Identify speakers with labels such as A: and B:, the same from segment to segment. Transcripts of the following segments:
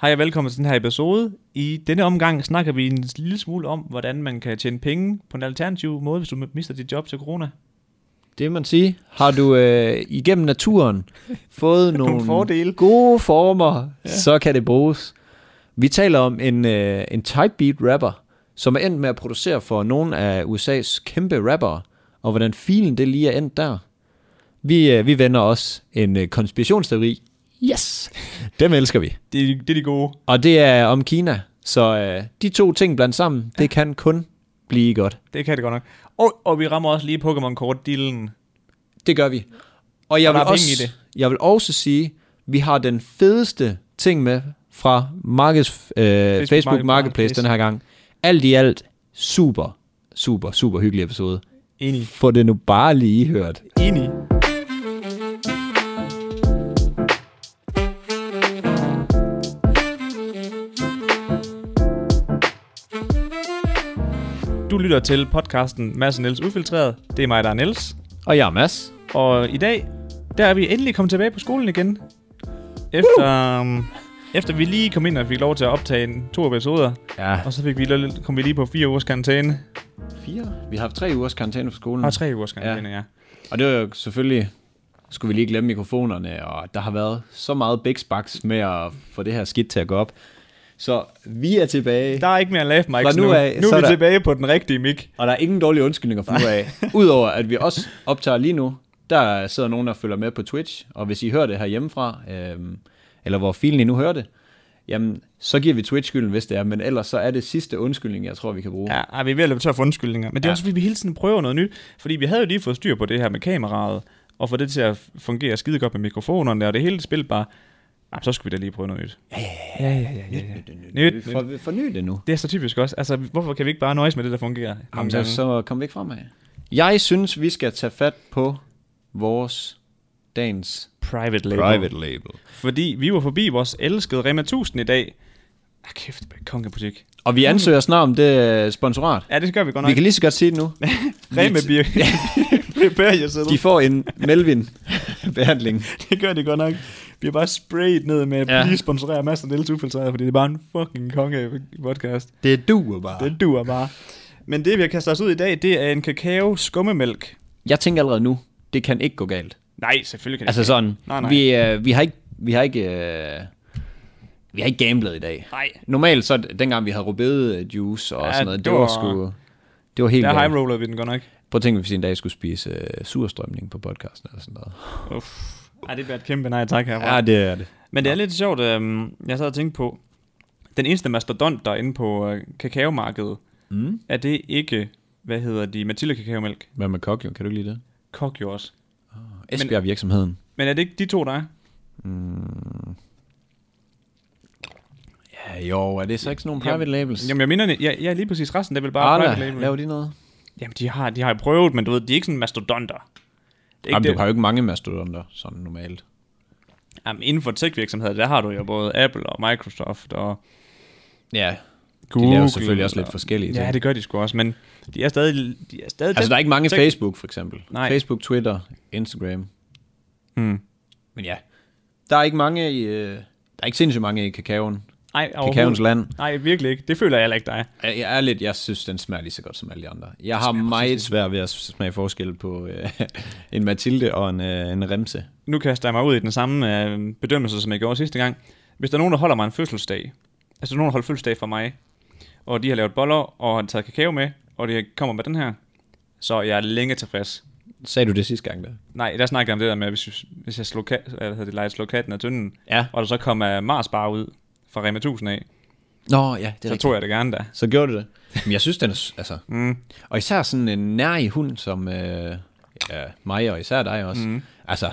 A: Hej og velkommen til den her episode. I denne omgang snakker vi en lille smule om, hvordan man kan tjene penge på en alternativ måde, hvis du mister dit job til corona.
B: Det man siger. Har du øh, igennem naturen fået nogle,
A: fordele.
B: gode former, ja. så kan det bruges. Vi taler om en, øh, en typebeat rapper, som er endt med at producere for nogle af USA's kæmpe rappere, og hvordan filen det lige er endt der. Vi, øh, vi vender også en øh, konspirationsteori. Yes! Dem elsker vi.
A: Det, er- det er de gode.
B: Og det er om Kina. Så øh, de to ting blandt sammen, det kan kun blive godt.
A: Det kan det godt nok. Og, og vi rammer også lige Pokémon-kort-dealen.
B: Det gør vi. Og jeg,
A: Og der
B: vil,
A: er penge i
B: også,
A: det.
B: jeg vil også sige, vi har den fedeste ting med fra markeds, øh, Facebook, Facebook Marketplace den her gang. Alt i alt, super, super, super hyggelig episode.
A: Enig.
B: Få det nu bare lige hørt.
A: Enig. Du lytter til podcasten Mads og Niels Ufiltreret. Det er mig, der er Niels.
B: Og jeg er Mads.
A: Og i dag, der er vi endelig kommet tilbage på skolen igen. Efter, um, efter vi lige kom ind og fik lov til at optage en, to episoder,
B: Ja.
A: og så fik vi, lidt- kom vi lige på fire ugers karantæne.
B: Fire? Vi har haft tre ugers karantæne på skolen.
A: Og tre ugers karantæne, ja. ja.
B: Og det var jo selvfølgelig, skulle vi lige glemme mikrofonerne, og der har været så meget bæksbaks med at få det her skidt til at gå op. Så vi er tilbage,
A: Der er ikke mere laugh mics
B: Fra
A: nu.
B: nu
A: Nu,
B: af,
A: nu
B: så
A: er
B: er
A: vi
B: der-
A: tilbage på den rigtige mic.
B: og der er ingen dårlige undskyldninger for nu af. Udover at vi også optager lige nu, der sidder nogen, der følger med på Twitch, og hvis I hører det her hjemmefra, øhm, eller hvor filen I nu hører det, jamen, så giver vi Twitch skylden, hvis det er, men ellers så er det sidste undskyldning, jeg tror, vi kan bruge.
A: Ja, ej, vi er ved at løbe tør for undskyldninger. Men det er ja. også, fordi vi hele tiden prøver noget nyt. Fordi vi havde jo lige fået styr på det her med kameraet, og få det til at fungere skide godt med mikrofonerne, og det hele spil bare... Jamen, så skulle vi da lige prøve noget nyt. Ja, ja, ja. ja, ja, ja, ja. Nyt, nyt.
B: For, forny det nu.
A: Det er så typisk også. Altså, hvorfor kan vi ikke bare nøjes med det, der fungerer? nogle
B: Jamen, så,
A: gange?
B: så kom væk fremad. Jeg synes, vi skal tage fat på vores dagens
A: Private label.
B: label.
A: Fordi vi var forbi vores elskede Rema 1000 i dag. Ah, kæft, kongebutik.
B: Og vi ansøger snart om det øh, sponsorat.
A: Ja, det gør vi godt nok.
B: Vi kan lige så godt sige det nu.
A: Rema bliver... Prepare yourself.
B: De får en Melvin-behandling.
A: Det gør det godt nok. Vi er bare sprayet ned med, at
B: Ja.
A: ja. lige sponsorere masser af Niels Ufiltreret, fordi det er bare en fucking konge podcast.
B: Det duer bare.
A: Det duer bare. Men det, vi har kastet os ud i dag, det er en kakao skummemælk.
B: Jeg tænker allerede nu, det kan ikke gå galt.
A: Nej, selvfølgelig kan det
B: Altså
A: ikke.
B: sådan,
A: Nej, nej.
B: Vi, øh, vi har ikke, vi har ikke, øh, vi har ikke gamblet i dag.
A: Nej.
B: Normalt så, dengang vi havde rubede juice og
A: Ja,
B: sådan noget, det,
A: det
B: var,
A: var-
B: sgu, det var helt
A: Der
B: galt.
A: high roller vi den godt nok.
B: Prøv at tænke, hvis vi en dag skulle spise øh, surstrømning på podcasten eller sådan noget.
A: Uff. Ej, det bliver et kæmpe nej tak herfra.
B: Ja, det er det.
A: Men det er lidt sjovt, øhm, jeg sad og tænkte på, den eneste mastodont, der er inde på øh, kakaomarkedet,
B: Mm.
A: er det ikke, hvad hedder de, Matilda kakaomælk?
B: Hvad med Kokio? Kan du ikke lide det?
A: Kok jo også.
B: Esbjerg virksomheden.
A: Men er det ikke de to, der er?
B: Ja, jo, er det så ikke sådan nogle private labels?
A: Jamen, jeg mener, jeg, jeg er lige præcis resten, der vil bare private
B: Arla,
A: label.
B: laver de noget?
A: Jamen, de har, de har jo prøvet, men du ved, de er ikke sådan mastodonter. Det er
B: Jamen,
A: ikke
B: du
A: det.
B: har jo ikke mange mastodonter, sådan normalt.
A: Jamen, inden for tech-virksomheder, der har du jo både Apple og Microsoft og
B: Ja,
A: Google.
B: de laver selvfølgelig også lidt
A: og-
B: forskellige ting.
A: Ja, det gør de sgu også, men de er stadig... De er stadig
B: Altså, der er ikke mange
A: Så-
B: Facebook, for eksempel.
A: Nej.
B: Facebook, Twitter, Instagram.
A: Hmm.
B: Men ja, der er ikke mange i... Øh, der er ikke sindssygt mange i kakaoen.
A: Nej,
B: Kakaoens
A: overhovedet.
B: land.
A: Nej, virkelig ikke. Det føler jeg heller ikke dig.
B: Jeg jeg er lidt, jeg synes, den smager lige så godt som alle de andre. Jeg har meget svært ved at smage forskel på øh, en Mathilde og en, øh, en Remse.
A: Nu kaster jeg mig ud i den samme øh, bedømmelse, som jeg gjorde sidste gang. Hvis der er nogen, der holder mig en fødselsdag, altså nogen, der holder fødselsdag for mig, og de har lavet boller og har taget kakao med, og de kommer med den her, så er jeg længe tilfreds.
B: Sagde du det sidste gang, der?
A: Nej, der snakkede jeg om det der med, hvis, jeg- hvis jeg slog, kat, eller hvad hedder det, lejede, slog katten af tynden,
B: Ja.
A: og der så kom uh, Mars bare ud fra Rema 1000 af,
B: Nå, ja, det er
A: så
B: rigtigt.
A: tog jeg det gerne da.
B: Så gjorde du det. Men jeg synes, den er... s- Altså, mm. Og især sådan en nærig hund som øh, ja, mig, og især dig også. Mm. Altså,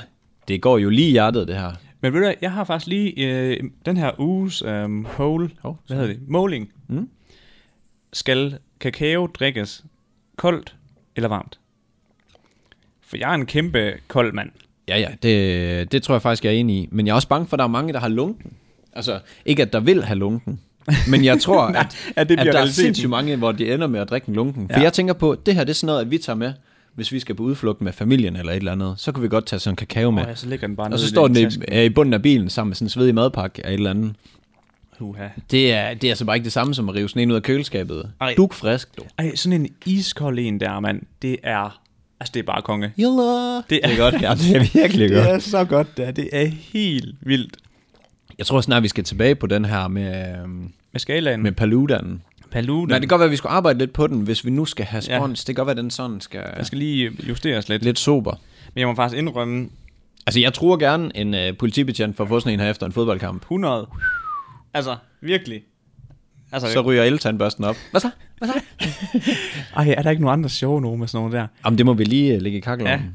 B: det går jo lige i hjertet, det her.
A: Men ved du hvad, jeg har faktisk lige øh, den her uges øh, hole,
B: Hov,
A: oh, hvad hedder det, måling.
B: Mm.
A: Skal kakao drikkes koldt eller varmt? For jeg er en kæmpe kold mand.
B: Ja, ja, det, det tror jeg faktisk, jeg er enig i. Men jeg er også bange for, at der er mange, der har lunken. Altså, ikke at der vil have lunken. Men jeg tror, at,
A: at det bliver
B: at der er
A: realiteten.
B: sindssygt mange, hvor de ender med at drikke en lunken. For
A: Ja.
B: jeg tænker på, det her det er sådan noget, at vi tager med, hvis vi skal på udflugt med familien eller et eller andet. Så kan vi godt tage sådan en kakao med.
A: Og så ligger den bare
B: Og
A: nede
B: så
A: i
B: står den
A: lille
B: i,
A: taske.
B: øh, i bunden af bilen sammen med sådan en svedig madpakke af et eller andet.
A: Huha.
B: Det er, det er altså bare ikke det samme som at rive sådan en ud af køleskabet.
A: Ej.
B: Duk frisk, du.
A: Ej, sådan en iskold en der, mand. Det er... Altså, det er bare konge.
B: Jalla. Det
A: er-
B: er godt. Ja, det er virkelig godt.
A: så godt, det er. Det er helt vildt.
B: Jeg tror snart, vi skal tilbage på den her med, øhm,
A: Med skalaen.
B: med paludaen.
A: Paluden.
B: Nej, det kan godt være, at vi skulle arbejde lidt på den, hvis vi nu skal have
A: Ja.
B: spons. Ja. Det kan godt være, at den sådan skal
A: Jeg skal lige justeres lidt.
B: lidt sober.
A: Men jeg må faktisk indrømme
B: Altså, jeg tror gerne en øh, politibetjent for at få sådan en her efter en fodboldkamp.
A: 100. Altså, virkelig. Altså,
B: Så ryger eltandbørsten op. Hvad så? Hvad så?
A: ej, er der ikke nogen andre sjove nogen med sådan noget der?
B: Jamen, det må vi lige øh, lægge i kakkelovnen.
A: Ja.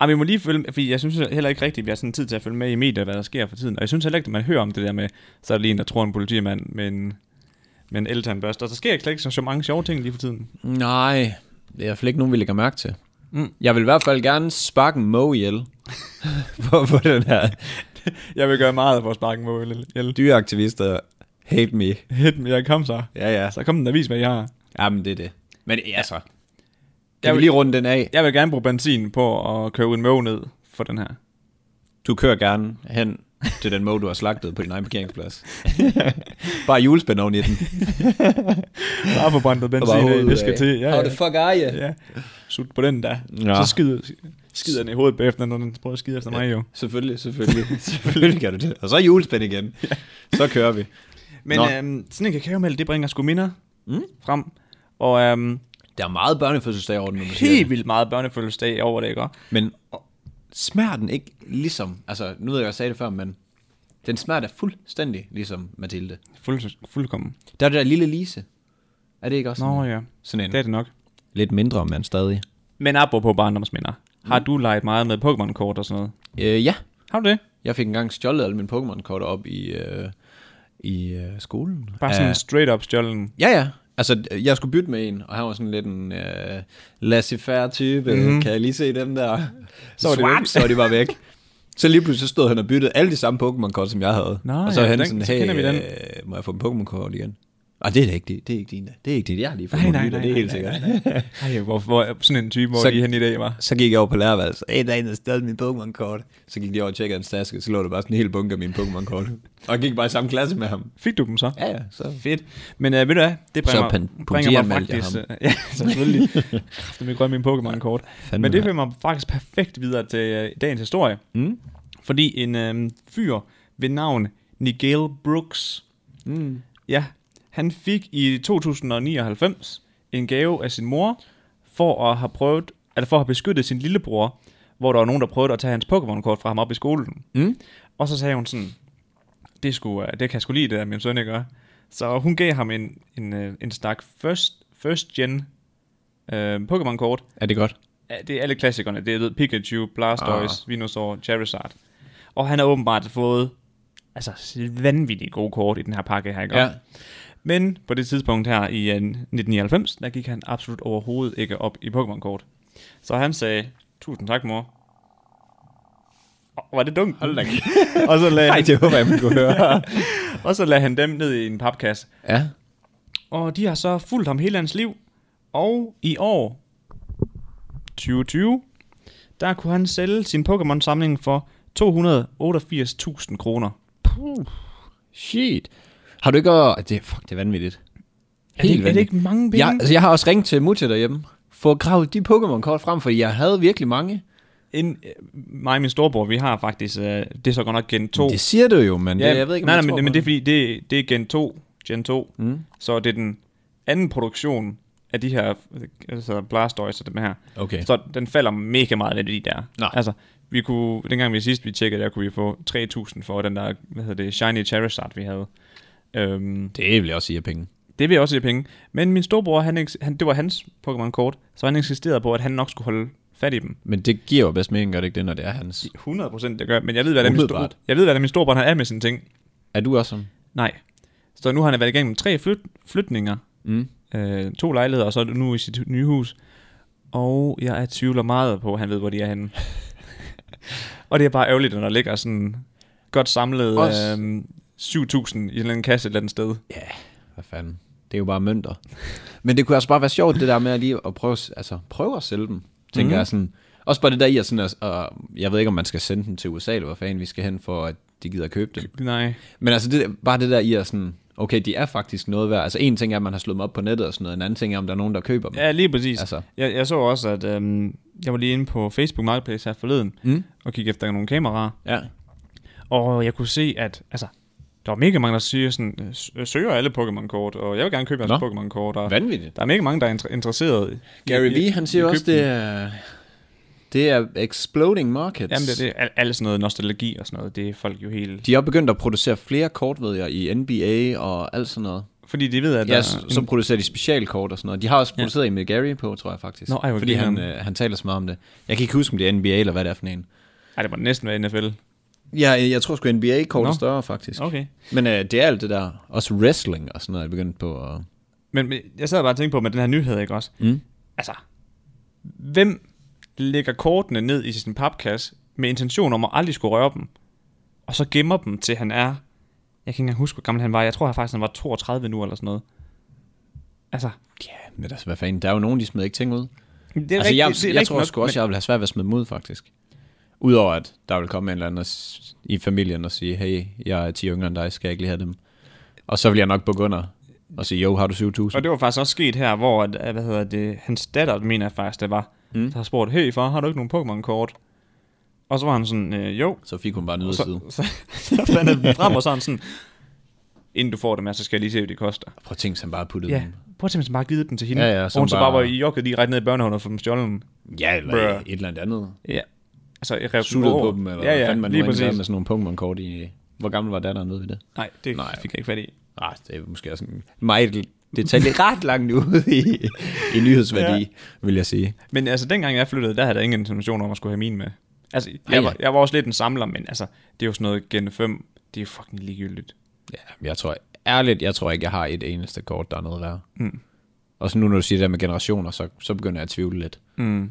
A: Ej, vi må lige følge med, fordi jeg synes heller ikke rigtigt, vi har sådan tid til at følge med i medier, hvad der sker for tiden. Og jeg synes heller ikke, at man hører om det der med, så er der lige en, der tror en politimand med en, med en eltandbørste. Og der sker ikke slet ikke så, så mange sjove ting lige for tiden.
B: Nej, det er i hvert fald ikke nogen, vi lægger mærke til. Mm. Jeg vil i hvert fald gerne sparke en Mo ihjel for, for den her
A: Jeg vil gøre meget for at sparke en mål. Eller
B: dyreaktivister. Hate me.
A: hit me, jeg kom så.
B: Ja, ja.
A: Så kom den og vis, hvad jeg har.
B: Jamen, det er det. Men altså, kan
A: Jeg
B: jeg vi
A: vil-
B: lige runde den af?
A: Jeg vil gerne bruge benzin på at købe en mål ned for den her.
B: Du kører gerne hen til den Mo, du har slagtet på din egen parkeringsplads. Bare julespænd oven i den.
A: Bare få brændt noget
B: Og bare
A: benzin af,
B: hovedet
A: det skal
B: af.
A: til. Ja,
B: How
A: ja.
B: the fuck are you?
A: ja. Sut på den der.
B: Ja.
A: Ja. Så skider, skider den i hovedet bagefter, når den prøver at skide efter mig jo.
B: Selvfølgelig, selvfølgelig. selvfølgelig gør du det. Og så er julespænd igen. Så kører vi.
A: Men
B: Nå.
A: øhm, sådan en kakaomælk, det bringer sgu minder mm. frem. Og øhm,
B: Der er meget børnefødselsdag over den, når man siger
A: helt
B: det.
A: vildt meget børnefødselsdag over det, ikke? også?
B: Men smager den ikke ligesom, altså nu ved jeg, jeg sagde det før, men den smager da fuldstændig ligesom Mathilde.
A: Fuld, fuldkommen.
B: Der er det der lille Lise. Er det ikke også
A: Nå
B: sådan,
A: ja,
B: Mm. sådan en?
A: det er det nok.
B: Lidt mindre, men stadig.
A: Men apropos barndomsminder. Har
B: Mm.
A: du leget meget med Pokémon-kort og sådan noget?
B: Øh, ja,
A: Har du det?
B: jeg fik engang stjålet alle mine Pokémon-kort op i, øh, i øh, skolen.
A: Bare sådan
B: Af-
A: straight up stjålen.
B: Ja, ja. Altså, jeg skulle bytte med en, og han var sådan lidt en øh, laissez-faire type.
A: Mhm.
B: Mm. Kan jeg lige se dem der? Så var, de
A: Swap!
B: væk. så var de bare væk. Så lige pludselig så stod han og byttede alle de samme Pokémon-kort, som jeg havde.
A: Nå,
B: og så
A: ja,
B: han
A: den-
B: sådan,
A: så kender
B: hey,
A: vi den."
B: Øh, må jeg få en Pokémon-kort igen? Og det er da ikke det. Det er ikke din. da. Det er ikke det. Jeg har lige fået nogle nye, da. det er helt sikkert.
A: Ej, hvor, hvor, sådan en type, hvor
B: Så-
A: så... de hen i dag var.
B: Så gik jeg over på lærerværelset. Hey, der er en, der stjal min Pokémon-kort. Så gik de over og tjekkede hans taske, så lå der bare sådan en hel bunke af mine Pokémon-kort. og jeg gik bare i samme klasse med ham.
A: Fik du dem så?
B: Ja, ja, så
A: Fedt. Men uh, ved du hvad, det bringer,
B: Så pan-
A: bringer mig
B: politianmeldte jeg
A: faktisk... øh, ja, selvfølgelig. Kræfter mig grøn min Pokémon-kort. Men det
B: mand.
A: bringer mig faktisk perfekt videre til uh, dagens historie.
B: Mm.
A: Fordi en øhm, fyr ved navn Nigel Brooks,
B: Mm.
A: ja, han fik i 2099 en gave af sin mor for at have prøvet, eller for at have beskyttet sin lillebror, hvor der var nogen, der prøvede at tage hans Pokémon-kort fra ham op i skolen.
B: Mm.
A: Og så sagde hun sådan, det, skulle, øh, det kan jeg sgu lide, det der min søn, ikke? også?" Så hun gav ham en, en, øh, en stak first, first gen øh, Pokémon-kort,
B: Er det godt?
A: Ja, det er alle klassikerne. Det er ved Pikachu, Blastoise, ah. Venusaur, Charizard. Og han har åbenbart fået altså vanvittigt gode kort i den her pakke her, ikke?
B: Ja.
A: Men på det tidspunkt her i øh, 1999, der gik han absolut overhovedet ikke op i Pokémon-kort. Så han sagde, tusind tak, mor. Og var det dumt?
B: Hold da kæft.
A: og, så lagde
B: Nej,
A: han,
B: det håber jeg, man kunne høre.
A: og så lagde han dem ned i en papkasse.
B: ja.
A: Og de har så fulgt ham hele hans liv. Og i år 2020, der kunne han sælge sin Pokémon-samling for 288.000 kroner.
B: Shit. Har du ikke... at- Det, fuck, det er vanvittigt.
A: Er det, ikke- er det ikke mange penge?
B: Jeg, altså, jeg har også ringet til Mutti derhjemme, for at grave de Pokémon-kort frem, for jeg havde virkelig mange.
A: En, øh, mig og min storebror, vi har faktisk, øh, det er så godt nok Gen 2.
B: Det siger du jo, men det,
A: Ja,
B: jeg ved ikke, om
A: nej,
B: jeg
A: nej,
B: tror
A: men,
B: på
A: men det er fordi, det, det er Gen 2, Gen 2. Mm. Så det er den anden produktion af de her, øh, altså Blastoise og dem her.
B: Okay.
A: Så den falder mega meget ned i de der.
B: Nå.
A: Altså, vi kunne, dengang vi sidst vi tjekkede, der kunne vi få 3.000 for den der, hvad hedder det, Shiny Charizard, vi havde. Øhm,
B: Det vil jeg også sige af penge.
A: det vil jeg også i penge. Men min storebror, han, eks- han, det var hans Pokémon-kort, så han insisterede på, at han nok skulle holde fat i dem.
B: Men det giver jo bedst mening, gør det ikke det, når det er hans.
A: 100% det gør, men jeg ved, hvad det er, min, store,
B: Umiddelbart.
A: jeg ved, hvad det er, min storebror han er med sine ting.
B: Er du også sådan?
A: Nej. Så nu har han været igennem tre flyt, flytninger,
B: Mm.
A: øh, to lejligheder, og så er det nu i sit nye hus. Og jeg er tvivler meget på, at han ved, hvor de er henne. og det er bare ærgerligt, når der ligger sådan godt samlet øh, 7.000 i
B: Også-
A: sådan en eller anden kasse et eller andet sted.
B: Hvad fanden? Det er jo bare mønter. Men det kunne altså bare være sjovt, det der med at lige at prøve, altså, prøve at sælge dem, tænker
A: Mhm.
B: mm. jeg sådan. Også bare det der i, at sådan, at, at, jeg ved ikke, om man skal sende dem til USA, eller hvor fanden vi skal hen, for at de gider købe dem.
A: Nej.
B: Men altså, det, bare det der i at sådan, okay, de er faktisk noget værd. Altså en ting er, at man har slået dem op på nettet og sådan noget, en anden ting er, om der er nogen, der køber dem.
A: Ja, lige præcis.
B: Altså.
A: Jeg, jeg så også, at øhm, jeg var lige inde på Facebook Marketplace her forleden
B: Mm.
A: og kiggede efter nogle kameraer.
B: Ja.
A: Og jeg kunne se, at altså, der var mega mange, der siger sådan, øh, s- øh, søger alle Pokémon-kort, og jeg vil gerne købe jeres
B: Nå.
A: Pokémon-kort. Og
B: Vanvittigt.
A: der er mega mange, der er inter- interesseret. i-
B: Gary
A: i-
B: Vee, han siger
A: i
B: jo
A: at
B: også,
A: købe
B: det
A: dem.
B: er, det er exploding markets.
A: Jamen, det, det er al- alt sådan noget nostalgi og sådan noget. Det er folk jo helt...
B: De har begyndt at producere flere kort, ved jeg, i NBA og alt sådan noget.
A: Fordi de ved, at der
B: Ja, så, så producerer de specialkort og sådan noget. De har også produceret ja. en med Gary på, tror jeg faktisk.
A: Nå, ej, hvor
B: fordi han,
A: grineren.
B: øh, han taler så meget om det. Jeg kan ikke huske, om det er NBA eller hvad det er for en.
A: Ej, det må næsten være NFL.
B: Ja, jeg tror sgu NBA-kort er
A: Nå.
B: større faktisk.
A: Okay.
B: Men øh, det er alt det der. Også wrestling og sådan noget er begyndt på. at...
A: Men men jeg sad bare og tænkte på med den her nyhed, ikke også?
B: Mm.
A: Altså, hvem lægger kortene ned i sin papkasse med intention om at aldrig skulle røre dem, og så gemmer dem til han er... Jeg kan ikke engang huske, hvor gammel han var. Jeg tror faktisk, han var 32 nu eller sådan noget. Altså,
B: Ja, men altså, hvad fanden? Der er jo nogen, de smider ikke ting ud.
A: det er altså,
B: altså,
A: rigtigt,
B: jeg,
A: det er
B: jeg
A: rigtigt
B: tror
A: nok,
B: sgu også, jeg vil have svært ved at smide dem ud, faktisk. Udover at der vil komme en eller anden og s- i familien og sige, hey, jeg er 10 yngre end dig, skal jeg ikke lige have dem? Og så vil jeg nok bukke under og sige, jo, har du 7.000?
A: Og det var faktisk også sket her, hvor at, at, hvad hedder det, hans datter, mener jeg faktisk, det var, mm. der har spurgt, hey far, har du ikke nogen Pokémon-kort? Og så var han sådan, øh, jo.
B: Så fik hun bare en
A: Og
B: yderside.
A: Så, så, så fandt han dem frem, og så var han sådan, inden du får dem her, så skal jeg lige se, hvad de koster.
B: Prøv at tænke, han bare puttede
A: Ja,
B: dem.
A: prøv at tænke, hvis han bare har givet dem til hende.
B: Ja, ja,
A: og
B: så
A: hun så
B: bare-
A: bare var i jokket lige ret ned i børnehaven og få dem stjålet.
B: Ja, eller
A: Bruh.
B: et eller andet andet.
A: Ja. Altså, jeg rev dem
B: Suttet
A: over.
B: på dem, eller
A: ja,
B: hvad
A: ja,
B: fanden man nu
A: lige
B: egentlig lavede
A: præcis.
B: med sådan nogle Pokémon-kort i... Hvor gammel var datteren, ved vi det?
A: Nej, det
B: Nej,
A: Nej, fik jeg ikke fat i.
B: Ah, det er måske også en meget detalje ret langt ude i, i nyhedsværdi, ja. vil jeg sige.
A: Men altså, dengang jeg flyttede, der havde jeg ingen information om, at skulle have min med. Altså,
B: Ej.
A: jeg var, jeg var også lidt en samler, men altså, det er jo sådan noget Gen 5. Det er jo fucking ligegyldigt.
B: Ja, men jeg tror, ærligt, jeg tror ikke, jeg har et eneste kort, der er noget værd.
A: Mm.
B: Og så nu, når du siger det der med generationer, så, så begynder jeg at tvivle lidt.
A: Mm.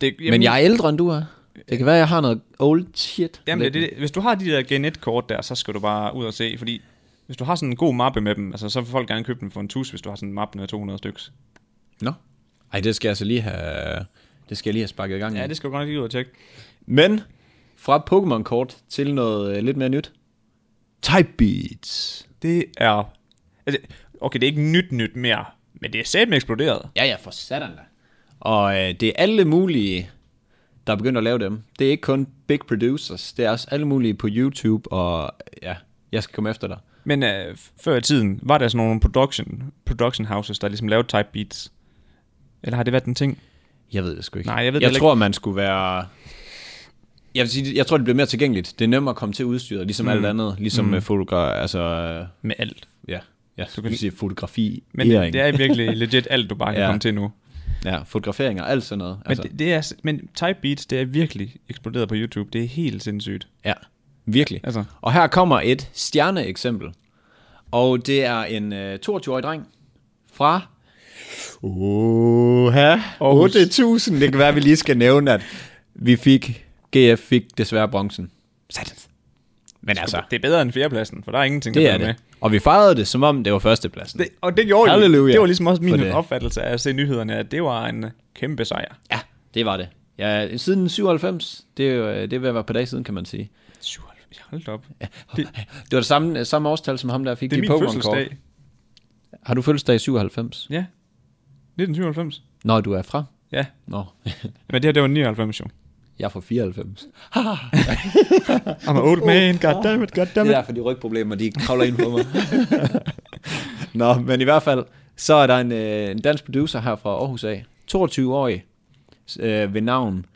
A: Det,
B: Jamen, men jeg er ældre, end du er. Det kan være, jeg har noget old shit.
A: Jamen, det, er det, hvis du har de der Gen 1-kort der, så skal du bare ud og se, fordi hvis du har sådan en god mappe med dem, altså så vil folk gerne købe dem for en tus, hvis du har sådan en mappe med 200 stykker.
B: Nå. Ej, det skal jeg altså lige have... Det skal jeg lige have sparket i gang.
A: Ja,
B: Ja,
A: det skal du godt nok lige ud og tjekke.
B: Men fra Pokémon-kort til noget øh, lidt mere nyt. Type Beats.
A: Det er... Altså, okay, det er ikke nyt nyt mere, men det er satme eksploderet.
B: Ja, ja, for satan da. Og øh, det er alle mulige, der er begyndt at lave dem. Det er ikke kun big producers, det er også alle mulige på YouTube, og øh, ja, jeg skal komme efter dig.
A: Men øh, f- før i tiden, var der sådan nogle production, production houses, der ligesom lavede type beats? Eller har det været en ting?
B: Jeg ved det sgu ikke.
A: Nej, jeg ved det
B: jeg
A: heller
B: tror, man skulle være... Jeg, vil sige, jeg tror, det bliver mere tilgængeligt. Det er nemmere at komme til udstyret, ligesom mm. alt andet. Ligesom mm. fotogra... Altså, øh,
A: Med alt.
B: ja, ja du
A: kan-
B: kan sige fotografi.
A: Men det, det er virkelig legit alt, du bare kan
B: Ja.
A: ja. komme til nu.
B: Ja, fotograferinger, alt sådan noget.
A: Men, altså. det, det er, s- men type beats, det er virkelig eksploderet på YouTube. Det er helt sindssygt.
B: Ja, virkelig.
A: Altså.
B: Og her kommer et stjerneeksempel. Og det er en øh, 22-årig dreng fra... Oha, 8.000. Det kan være, vi lige skal nævne, at vi fik... GF fik desværre bronzen. Satans. Men altså,
A: Det er bedre end fjerdepladsen, for der er ingenting,
B: det
A: der
B: er
A: følger
B: det. Og vi fejrede det, som om det var førstepladsen.
A: med. Det, og det gjorde
B: Halleluja
A: det. Det var ligesom også
B: for
A: min
B: det.
A: opfattelse af at se nyhederne, at det var en øh, kæmpe sejr.
B: Ja, det var det. Ja, siden 97, det er jo øh, det er ved at være på dag siden, kan man sige.
A: 97, hold da op.
B: Det, det var det samme, øh, samme årstal, som ham der fik
A: Det er
B: de
A: min
B: Pokémon-kort.
A: fødselsdag.
B: Har du fødselsdag i 97?
A: Ja. 1997.
B: Når du er fra?
A: Ja.
B: Nå,
A: Men det her, det var 99 jo.
B: jeg er fra 94.
A: I'm an old man, goddammit,
B: Det er
A: goddammit.
B: derfor, de rygproblemer, de kravler ind på mig. Nå, men i hvert fald, så er der en, øh, en dansk producer her fra Aarhus af, 22-årig, øh, ved navn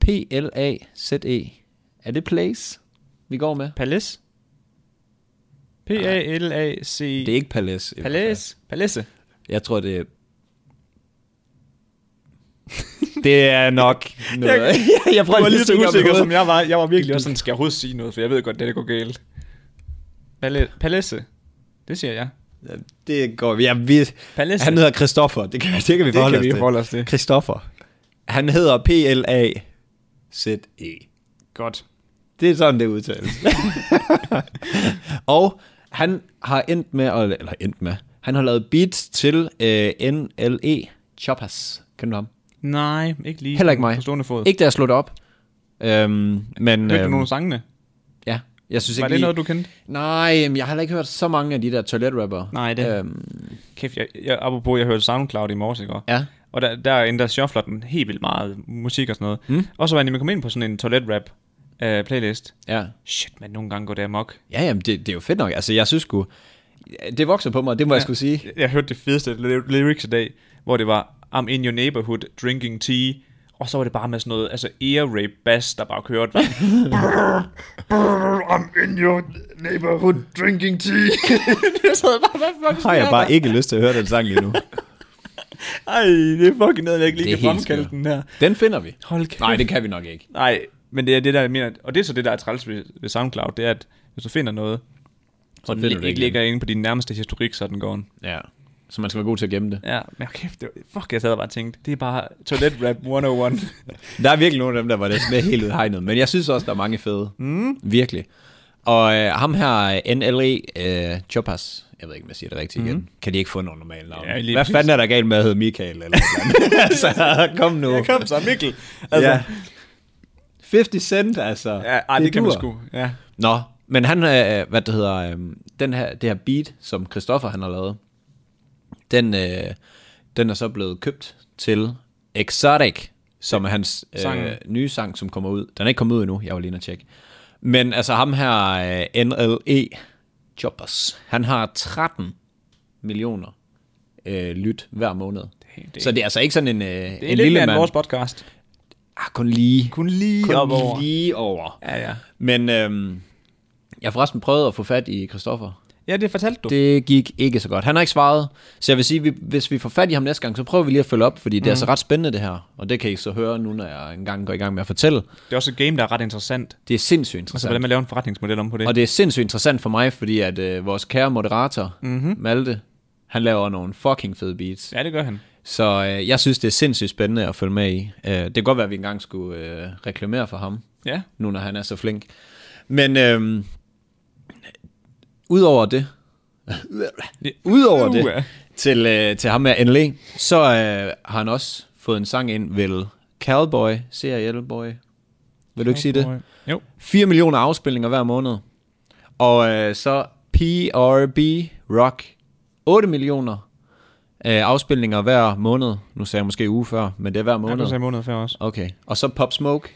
B: P-L-A-Z-E. E. Er det Place, vi går med?
A: Palace? P-A-L-A-C...
B: Det er ikke Palace. i hvert fald.
A: E. Palace? Palace?
B: Jeg tror, det er... det er nok noget.
A: Jeg-
B: jeg
A: Du var lige så
B: stikke op i
A: usikker,
B: hovedet.
A: som jeg var. Jeg var virkelig også sådan, skal jeg overhovedet sige noget, for jeg ved godt, det, det går galt. Pala- Palace? Det siger jeg.
B: Det går vi. Ja, vi
A: Palace?
B: han hedder Christoffer. Det kan, det kan vi
A: det
B: forholde
A: kan vi
B: os
A: forholde os til.
B: til. Christoffer. Han hedder P-L-A-Z-E.
A: Godt.
B: E. Det er sådan, det udtales. og han har endt med, at- eller endt med, han har lavet beats til øh, NLE Choppers. Kender du ham?
A: Nej, ikke lige.
B: Heller ikke mig.
A: På stående fod.
B: Ikke da jeg slog det op. Øhm, men,
A: Mødte du
B: øhm,
A: nogle af sangene?
B: ja. Jeg synes
A: Var
B: ikke
A: det
B: lige...
A: noget, du kendte?
B: Nej, men jeg har heller ikke hørt så mange af de der toiletrapper.
A: Nej, det-
B: Øhm,
A: Kæft, jeg, jeg, apropos, jeg hørte SoundCloud i morges, ikke?
B: ja.
A: Og der, der ændrer shuffler den helt vildt meget musik og sådan noget.
B: Mm.
A: Og så var jeg kommet ind på sådan en toilet rap øh, playlist.
B: Ja.
A: Shit, man, nogle gange går det amok.
B: Ja, jamen, det, det er jo fedt nok. Altså, jeg synes sgu... Det vokser på mig, det må ja. jeg skulle sige.
A: Jeg, jeg hørte det fedeste ly- lyrics i dag, hvor det var, I'm in your neighborhood drinking tea. Og så var det bare med sådan noget, altså ear rape bass, der bare kørte. I'm in your neighborhood drinking tea. jeg sad bare, hvad fuck
B: Har jeg bare ikke lyst til at høre den sang lige nu.
A: Ej, det er fucking noget, jeg ikke
B: Det
A: lige
B: er
A: kan
B: helt
A: fremkalde
B: skørt.
A: den her.
B: Den finder vi.
A: Hold kæft.
B: Nej, det kan vi nok ikke.
A: Nej, men det er det, der jeg mener. Og det er så det, der er træls ved, ved SoundCloud, det er, at hvis du finder noget,
B: Så
A: og den
B: finder du
A: ikke
B: det ikke
A: ligger inde på din nærmeste historik, så er den gone.
B: Ja. Så man skal være god til at gemme det.
A: Ja, men kæft, det var, fuck, jeg sad og bare tænkte, det er bare oh toilet rap 101.
B: Der er virkelig nogle af dem, der var det sådan helt udhegnet. Men jeg synes også, der er mange fede. Mm. Virkelig. Og øh, ham her, øh, NLE øh, Chopas, jeg ved ikke, om jeg siger det rigtigt igen. Kan de ikke få nogen normale navn?
A: Mm. Ja,
B: Ja,
A: lige
B: Hvad
A: præcis.
B: fanden er der galt med at hedde Michael? Eller et eller andet? altså, kom nu.
A: Jeg kom så, Mikkel. Altså,
B: Altså,
A: ja.
B: ja. 50 Cent, altså.
A: Ja, ej, det, det kan man
B: dur.
A: sgu. Ja.
B: Nå, men han, øh, hvad det hedder, øh, den her, det her beat, som Christoffer han har lavet, den, øh, den er så blevet købt til Exotic, som er hans øh,
A: Sangen.
B: nye sang, som kommer ud. Den er ikke kommet ud endnu, jeg var lige inde at tjekke. Men altså ham her, øh, NLE Choppers, han har 13 millioner øh, lyt hver måned.
A: Det er-
B: så det er altså ikke sådan en, øh, det
A: Det er
B: en
A: en lidt
B: lille
A: mere end
B: mand.
A: vores podcast.
B: Ah, kun lige.
A: Kun lige
B: kun
A: op over.
B: lige over.
A: Ja, ja.
B: Men øhm, jeg har forresten prøvet at få fat i Christoffer.
A: Ja, det fortalte du. Det.
B: Det gik ikke så godt. Han har ikke svaret, så jeg vil sige, vi, hvis vi får fat i ham næste gang, så prøver vi lige at følge op, fordi mm. det er altså ret spændende det her. Og det kan I så høre nu, når jeg engang går i gang med at fortælle.
A: det er også et game, der er ret interessant.
B: Det er sindssygt
A: Altså,
B: interessant.
A: hvordan man laver en forretningsmodel om på det.
B: Og det er sindssygt interessant for mig, fordi at øh, vores kære moderator, mm-hmm. Malte, han laver nogle fucking fede beats.
A: Mhm. Ja, det gør han.
B: Så øh, jeg synes, det er sindssygt spændende at følge med i. Øh, det kan godt være, at vi engang skulle øh, reklamere for ham.
A: Ja.
B: nu når han er så flink. Men øhm, udover det, udover
A: Uha.
B: det, til, øh, til ham med NLE, så øh, har han også fået en sang ind, vel Cowboy, CRL Boy, vil du ikke sige det?
A: Jo.
B: 4 millioner afspilninger hver måned. Og øh, så PRB Rock, 8 millioner øh, afspilninger hver måned. Nu sagde jeg måske uge før, men det er hver
A: Ja,
B: måned.
A: du sagde måned før også.
B: Okay. Og så Pop Smoke,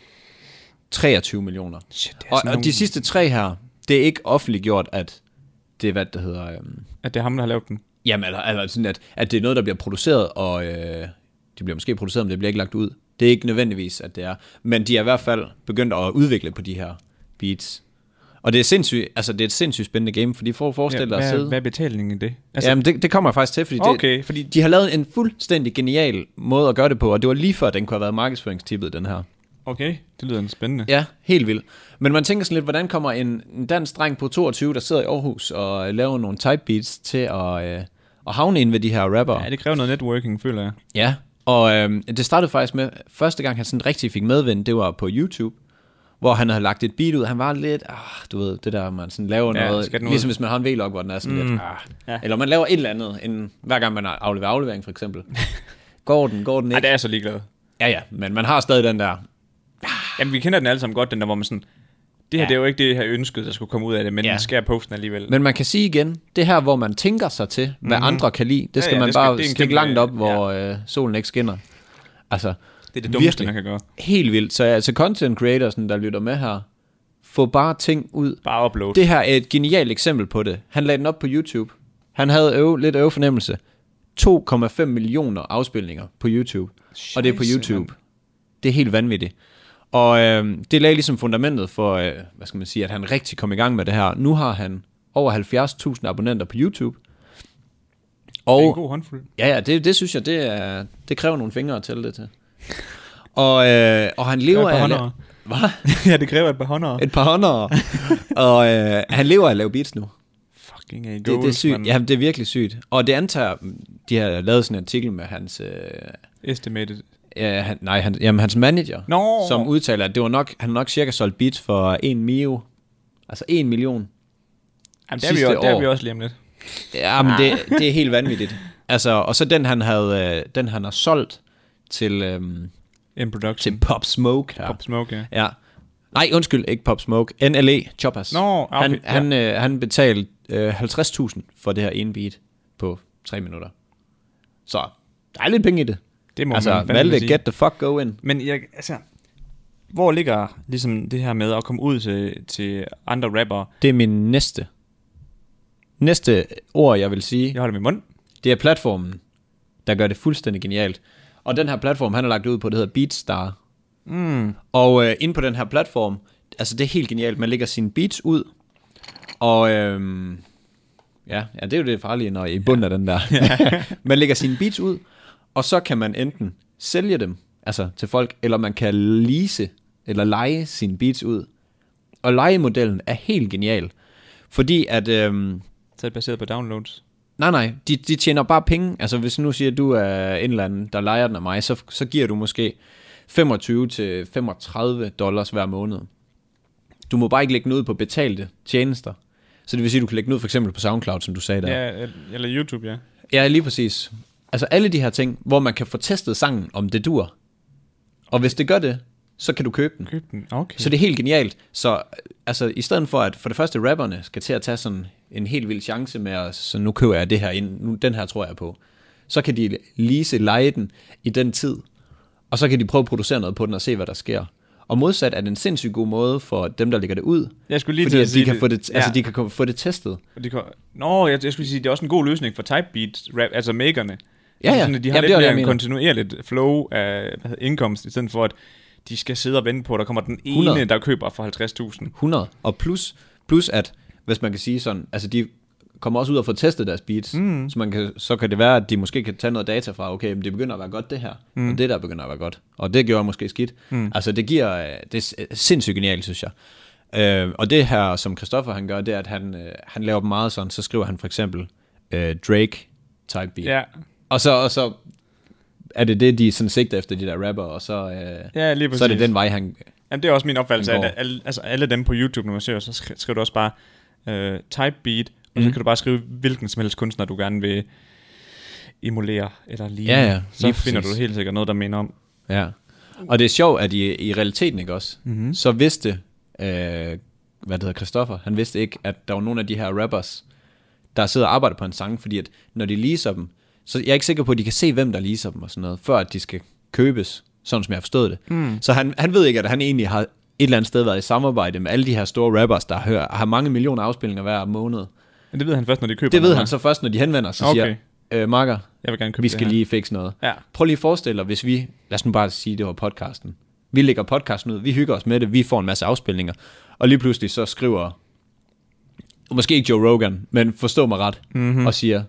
B: 23 millioner.
A: Shit, det er
B: Og,
A: sådan
B: og
A: nogle-
B: de sidste tre her, det er ikke offentliggjort, at det er, hvad det hedder, øhm,
A: At det er ham, der har lavet den.
B: jamen, eller, eller sådan, at, at det er noget, der bliver produceret, og øh, det bliver måske produceret, men det bliver ikke lagt ud. Det er ikke nødvendigvis, at det er. Men de er i hvert fald begyndt at udvikle på de her beats. Og det er, sindssygt, altså, det er et sindssygt spændende game, fordi for at forestille dig at
A: hvad,
B: sidde...
A: hvad er betalingen i det?
B: Altså, Jamen, det, det kommer jeg faktisk til, fordi, det,
A: Okay, fordi-
B: de har lavet en fuldstændig genial måde at gøre det på, og det var lige før, den kunne have været markedsføringstippet, den her.
A: Okay, det lyder spændende.
B: Ja, helt vildt. Men man tænker sådan lidt, hvordan kommer en, en dansk dreng på 22, der sidder i Aarhus og øh, laver nogle type beats til at, øh, at havne ind ved de her rapper?
A: Ja, det kræver noget networking, føler jeg.
B: Ja, og øh, det startede faktisk med, første gang han sådan rigtig fik medvind, det var på YouTube, hvor han havde lagt et beat ud. Han var lidt, ah, du ved, det der, man sådan laver
A: Ja,
B: noget,
A: skal den ud?
B: ligesom hvis man har en vlog, hvor den er sådan mm. lidt, ah. ja. eller man laver et eller andet, end hver gang man afleverer aflevering for eksempel. går den, går den
A: Nej,
B: ikke?
A: det er jeg så ligeglad.
B: Ja, ja, men man har stadig den der,
A: Jamen, vi kender den alle sammen godt, den der, hvor man sådan... Det her, ja. det er jo ikke det, jeg havde ønsket, der skulle komme ud af det, men
B: Ja.
A: ja. skal jeg poste den alligevel? Men,
B: Men man kan sige igen, det her, hvor man tænker sig til, hvad mm-hmm. andre kan lide, det skal ja,
A: Mhm. ja,
B: ja, man
A: det skal- det
B: bare
A: er en
B: stikke
A: kæmpe-
B: langt op, hvor ja. øh, solen ikke skinner. Altså,
A: det er det dummeste,
B: virkelig.
A: man kan gøre.
B: helt vildt. Så altså content creatorsen, der lytter med her, få bare ting ud.
A: Bare upload. Det.
B: Det her er et genialt eksempel på det. Han lagde den op på YouTube. Han havde øve, lidt øvefornemmelse. 2,5 millioner afspilninger på YouTube. Scheisse, og det er på
A: Scheisse,
B: YouTube. Det er helt vanvittigt. Og øh, det lagde ligesom fundamentet for, øh, hvad skal man sige, at han rigtig kom i gang med det her. Nu har han over 70.000 abonnenter på YouTube. Og
A: det er en god håndfuld.
B: Ja, ja, det, det synes jeg, det, er, det kræver nogle fingre at tælle det til. Og, øh, og han lever
A: Det er et par
B: af... at la-
A: håndere.
B: Hvad?
A: ja, det kræver et par håndere.
B: Et par håndere. og øh, han lever af at lave beats nu.
A: Fucking a goals,
B: Det, det er sygt.
A: mand.
B: Ja, det er virkelig sygt. Og det antager... De har lavet sådan en artikel med hans... Øh,
A: Estimated.
B: ja, han, nej, han, jamen, hans manager,
A: Nå!
B: som udtaler, at det var nok, han har nok cirka solgt beats for en mio. Altså en million.
A: Jamen, der er, vi
B: Sidste
A: jo, der er
B: år.
A: vi også lige om lidt.
B: Ja, men
A: Ah.
B: det, det er helt vanvittigt. Altså, og så den, han, havde, øh, den, han har solgt til, øhm,
A: In production.
B: til Pop Smoke her.
A: Pop Smoke, ja.
B: Ja. Nej, undskyld, ikke Pop Smoke. E, NLE, Choppers.
A: Nå, Ah, okay,
B: han,
A: ja.
B: han, øh, han betalte øh, 50.000 for det her ene beat på 3 minutter. Så der er lidt penge i det.
A: Det må
B: altså,
A: man fandme
B: valgte
A: sige.
B: get the fuck go in.
A: Men jeg, altså, hvor ligger ligesom det her med at komme ud til, til andre rappere?
B: Det er min næste. Næste ord, jeg vil sige,
A: Jeg holder min mund.
B: Det er platformen, der gør det fuldstændig genialt. Og den her platform, han har lagt ud på, det hedder Beatstar. Mm. Og øh, inde på den her platform, altså det er helt genialt, man lægger sine beats ud, og øhm, ja, ja, det er jo det farlige, når I er i bunden af den der. man lægger sine beats ud, og så kan man enten sælge dem, altså til folk, eller man kan lease, eller lege sine beats ud. Og legemodellen er helt genial, fordi at... Øhm,
A: Så er det baseret på downloads.
B: Nej, nej, de, de tjener bare penge. Altså hvis nu siger, at du er en eller anden, der leger den af mig, så, så giver du måske 25 til 35 dollars hver måned. Du må bare ikke lægge den ud på betalte tjenester. Så det vil sige, at du kan lægge den ud for eksempel på SoundCloud, som du sagde der.
A: Ja, el- eller YouTube, ja.
B: Ja, lige præcis. Altså alle de her ting, hvor man kan få testet sangen, om det dur. Og hvis det gør det, så kan du købe den.
A: Køb den. Okay.
B: Så det er helt genialt. Så altså, i stedet for, at for det første rapperne skal til at tage sådan en helt vild chance med, at så nu køber jeg det her ind, nu, den her tror jeg på, så kan de lease lege den i den tid, og så kan de prøve at producere noget på den og se, hvad der sker. Og modsat er det en sindssygt god måde for dem, der lægger det ud,
A: Jeg skulle lige
B: fordi
A: til at
B: at de,
A: sige
B: kan
A: det.
B: få det, altså,
A: Ja.
B: de kan komme- få det testet.
A: Og de kan... Nå, jeg, jeg skulle sige, det er også en god løsning for typebeat rap, altså makerne.
B: Ja,
A: Altså
B: ja.
A: Sådan, at de har
B: Jamen,
A: lidt
B: det er det,
A: mere
B: jeg
A: en
B: mener.
A: kontinuerligt flow af hvad hedder, indkomst, i stedet for at de skal sidde og vente på, at der kommer den ene,
B: 100.
A: der køber for 50.000.
B: 100. Og plus, plus at, hvis man kan sige sådan, altså de kommer også ud og får testet deres beats, mm. så, man kan, så kan det være, at de måske kan tage noget data fra, okay, men det begynder at være godt det her, mm. og det der begynder at være godt, og det gjorde måske skidt. Mm. Altså det giver, øh, det er s- sindssygt genialt, synes jeg. Øh, og det her, som Christoffer han gør, det er, at han, øh, han laver dem meget sådan, så skriver han for eksempel øh, Drake type beat.
A: Ja.
B: Og, så, og så er det det, de sådan sigter efter, de der rapper, og så, øh,
A: Ja, lige
B: så er det
A: præcis.
B: den vej, han,
A: Jamen, det er også min opfattelse,
B: Den går.
A: at alle, altså, alle dem på YouTube, når man ser, så skri- skriver du også bare øh, typebeat, og
B: Mhm.
A: så kan du bare skrive, hvilken som helst kunstner, du gerne vil emulere eller lige.
B: Ja, ja,
A: Så
B: lige
A: finder
B: præcis.
A: du helt sikkert noget, der minder om.
B: Ja. Og det er sjovt, at i, i realiteten, ikke også, mm-hmm. så vidste, øh, hvad det hedder, Christoffer, han vidste ikke, at der var nogle af de her rappers, der sidder og arbejder på en sang, fordi at når de leaser dem, så jeg er ikke sikker på, at de kan se, hvem der leaser dem og sådan noget, før at de skal købes, sådan som jeg har forstået det. Mm. Så han, han ved ikke, at han egentlig har et eller andet sted været i samarbejde med alle de her store rappers, der hører, har mange millioner afspilninger hver måned.
A: Men det ved han først, når de køber
B: Det ved
A: den,
B: han
A: eller?
B: så først, når de henvender sig og
A: Okay.
B: okay. siger, øh, Marker,
A: Jeg vil gerne købe
B: vi
A: det
B: skal
A: her.
B: lige fikse noget.
A: Ja.
B: Prøv lige at forestille dig, hvis vi, lad os nu bare sige, det var podcasten. Vi lægger podcasten ud, vi hygger os med det, vi får en masse afspilninger, og lige pludselig så skriver, måske ikke Joe Rogan, men forstå mig ret, mm-hmm. og siger,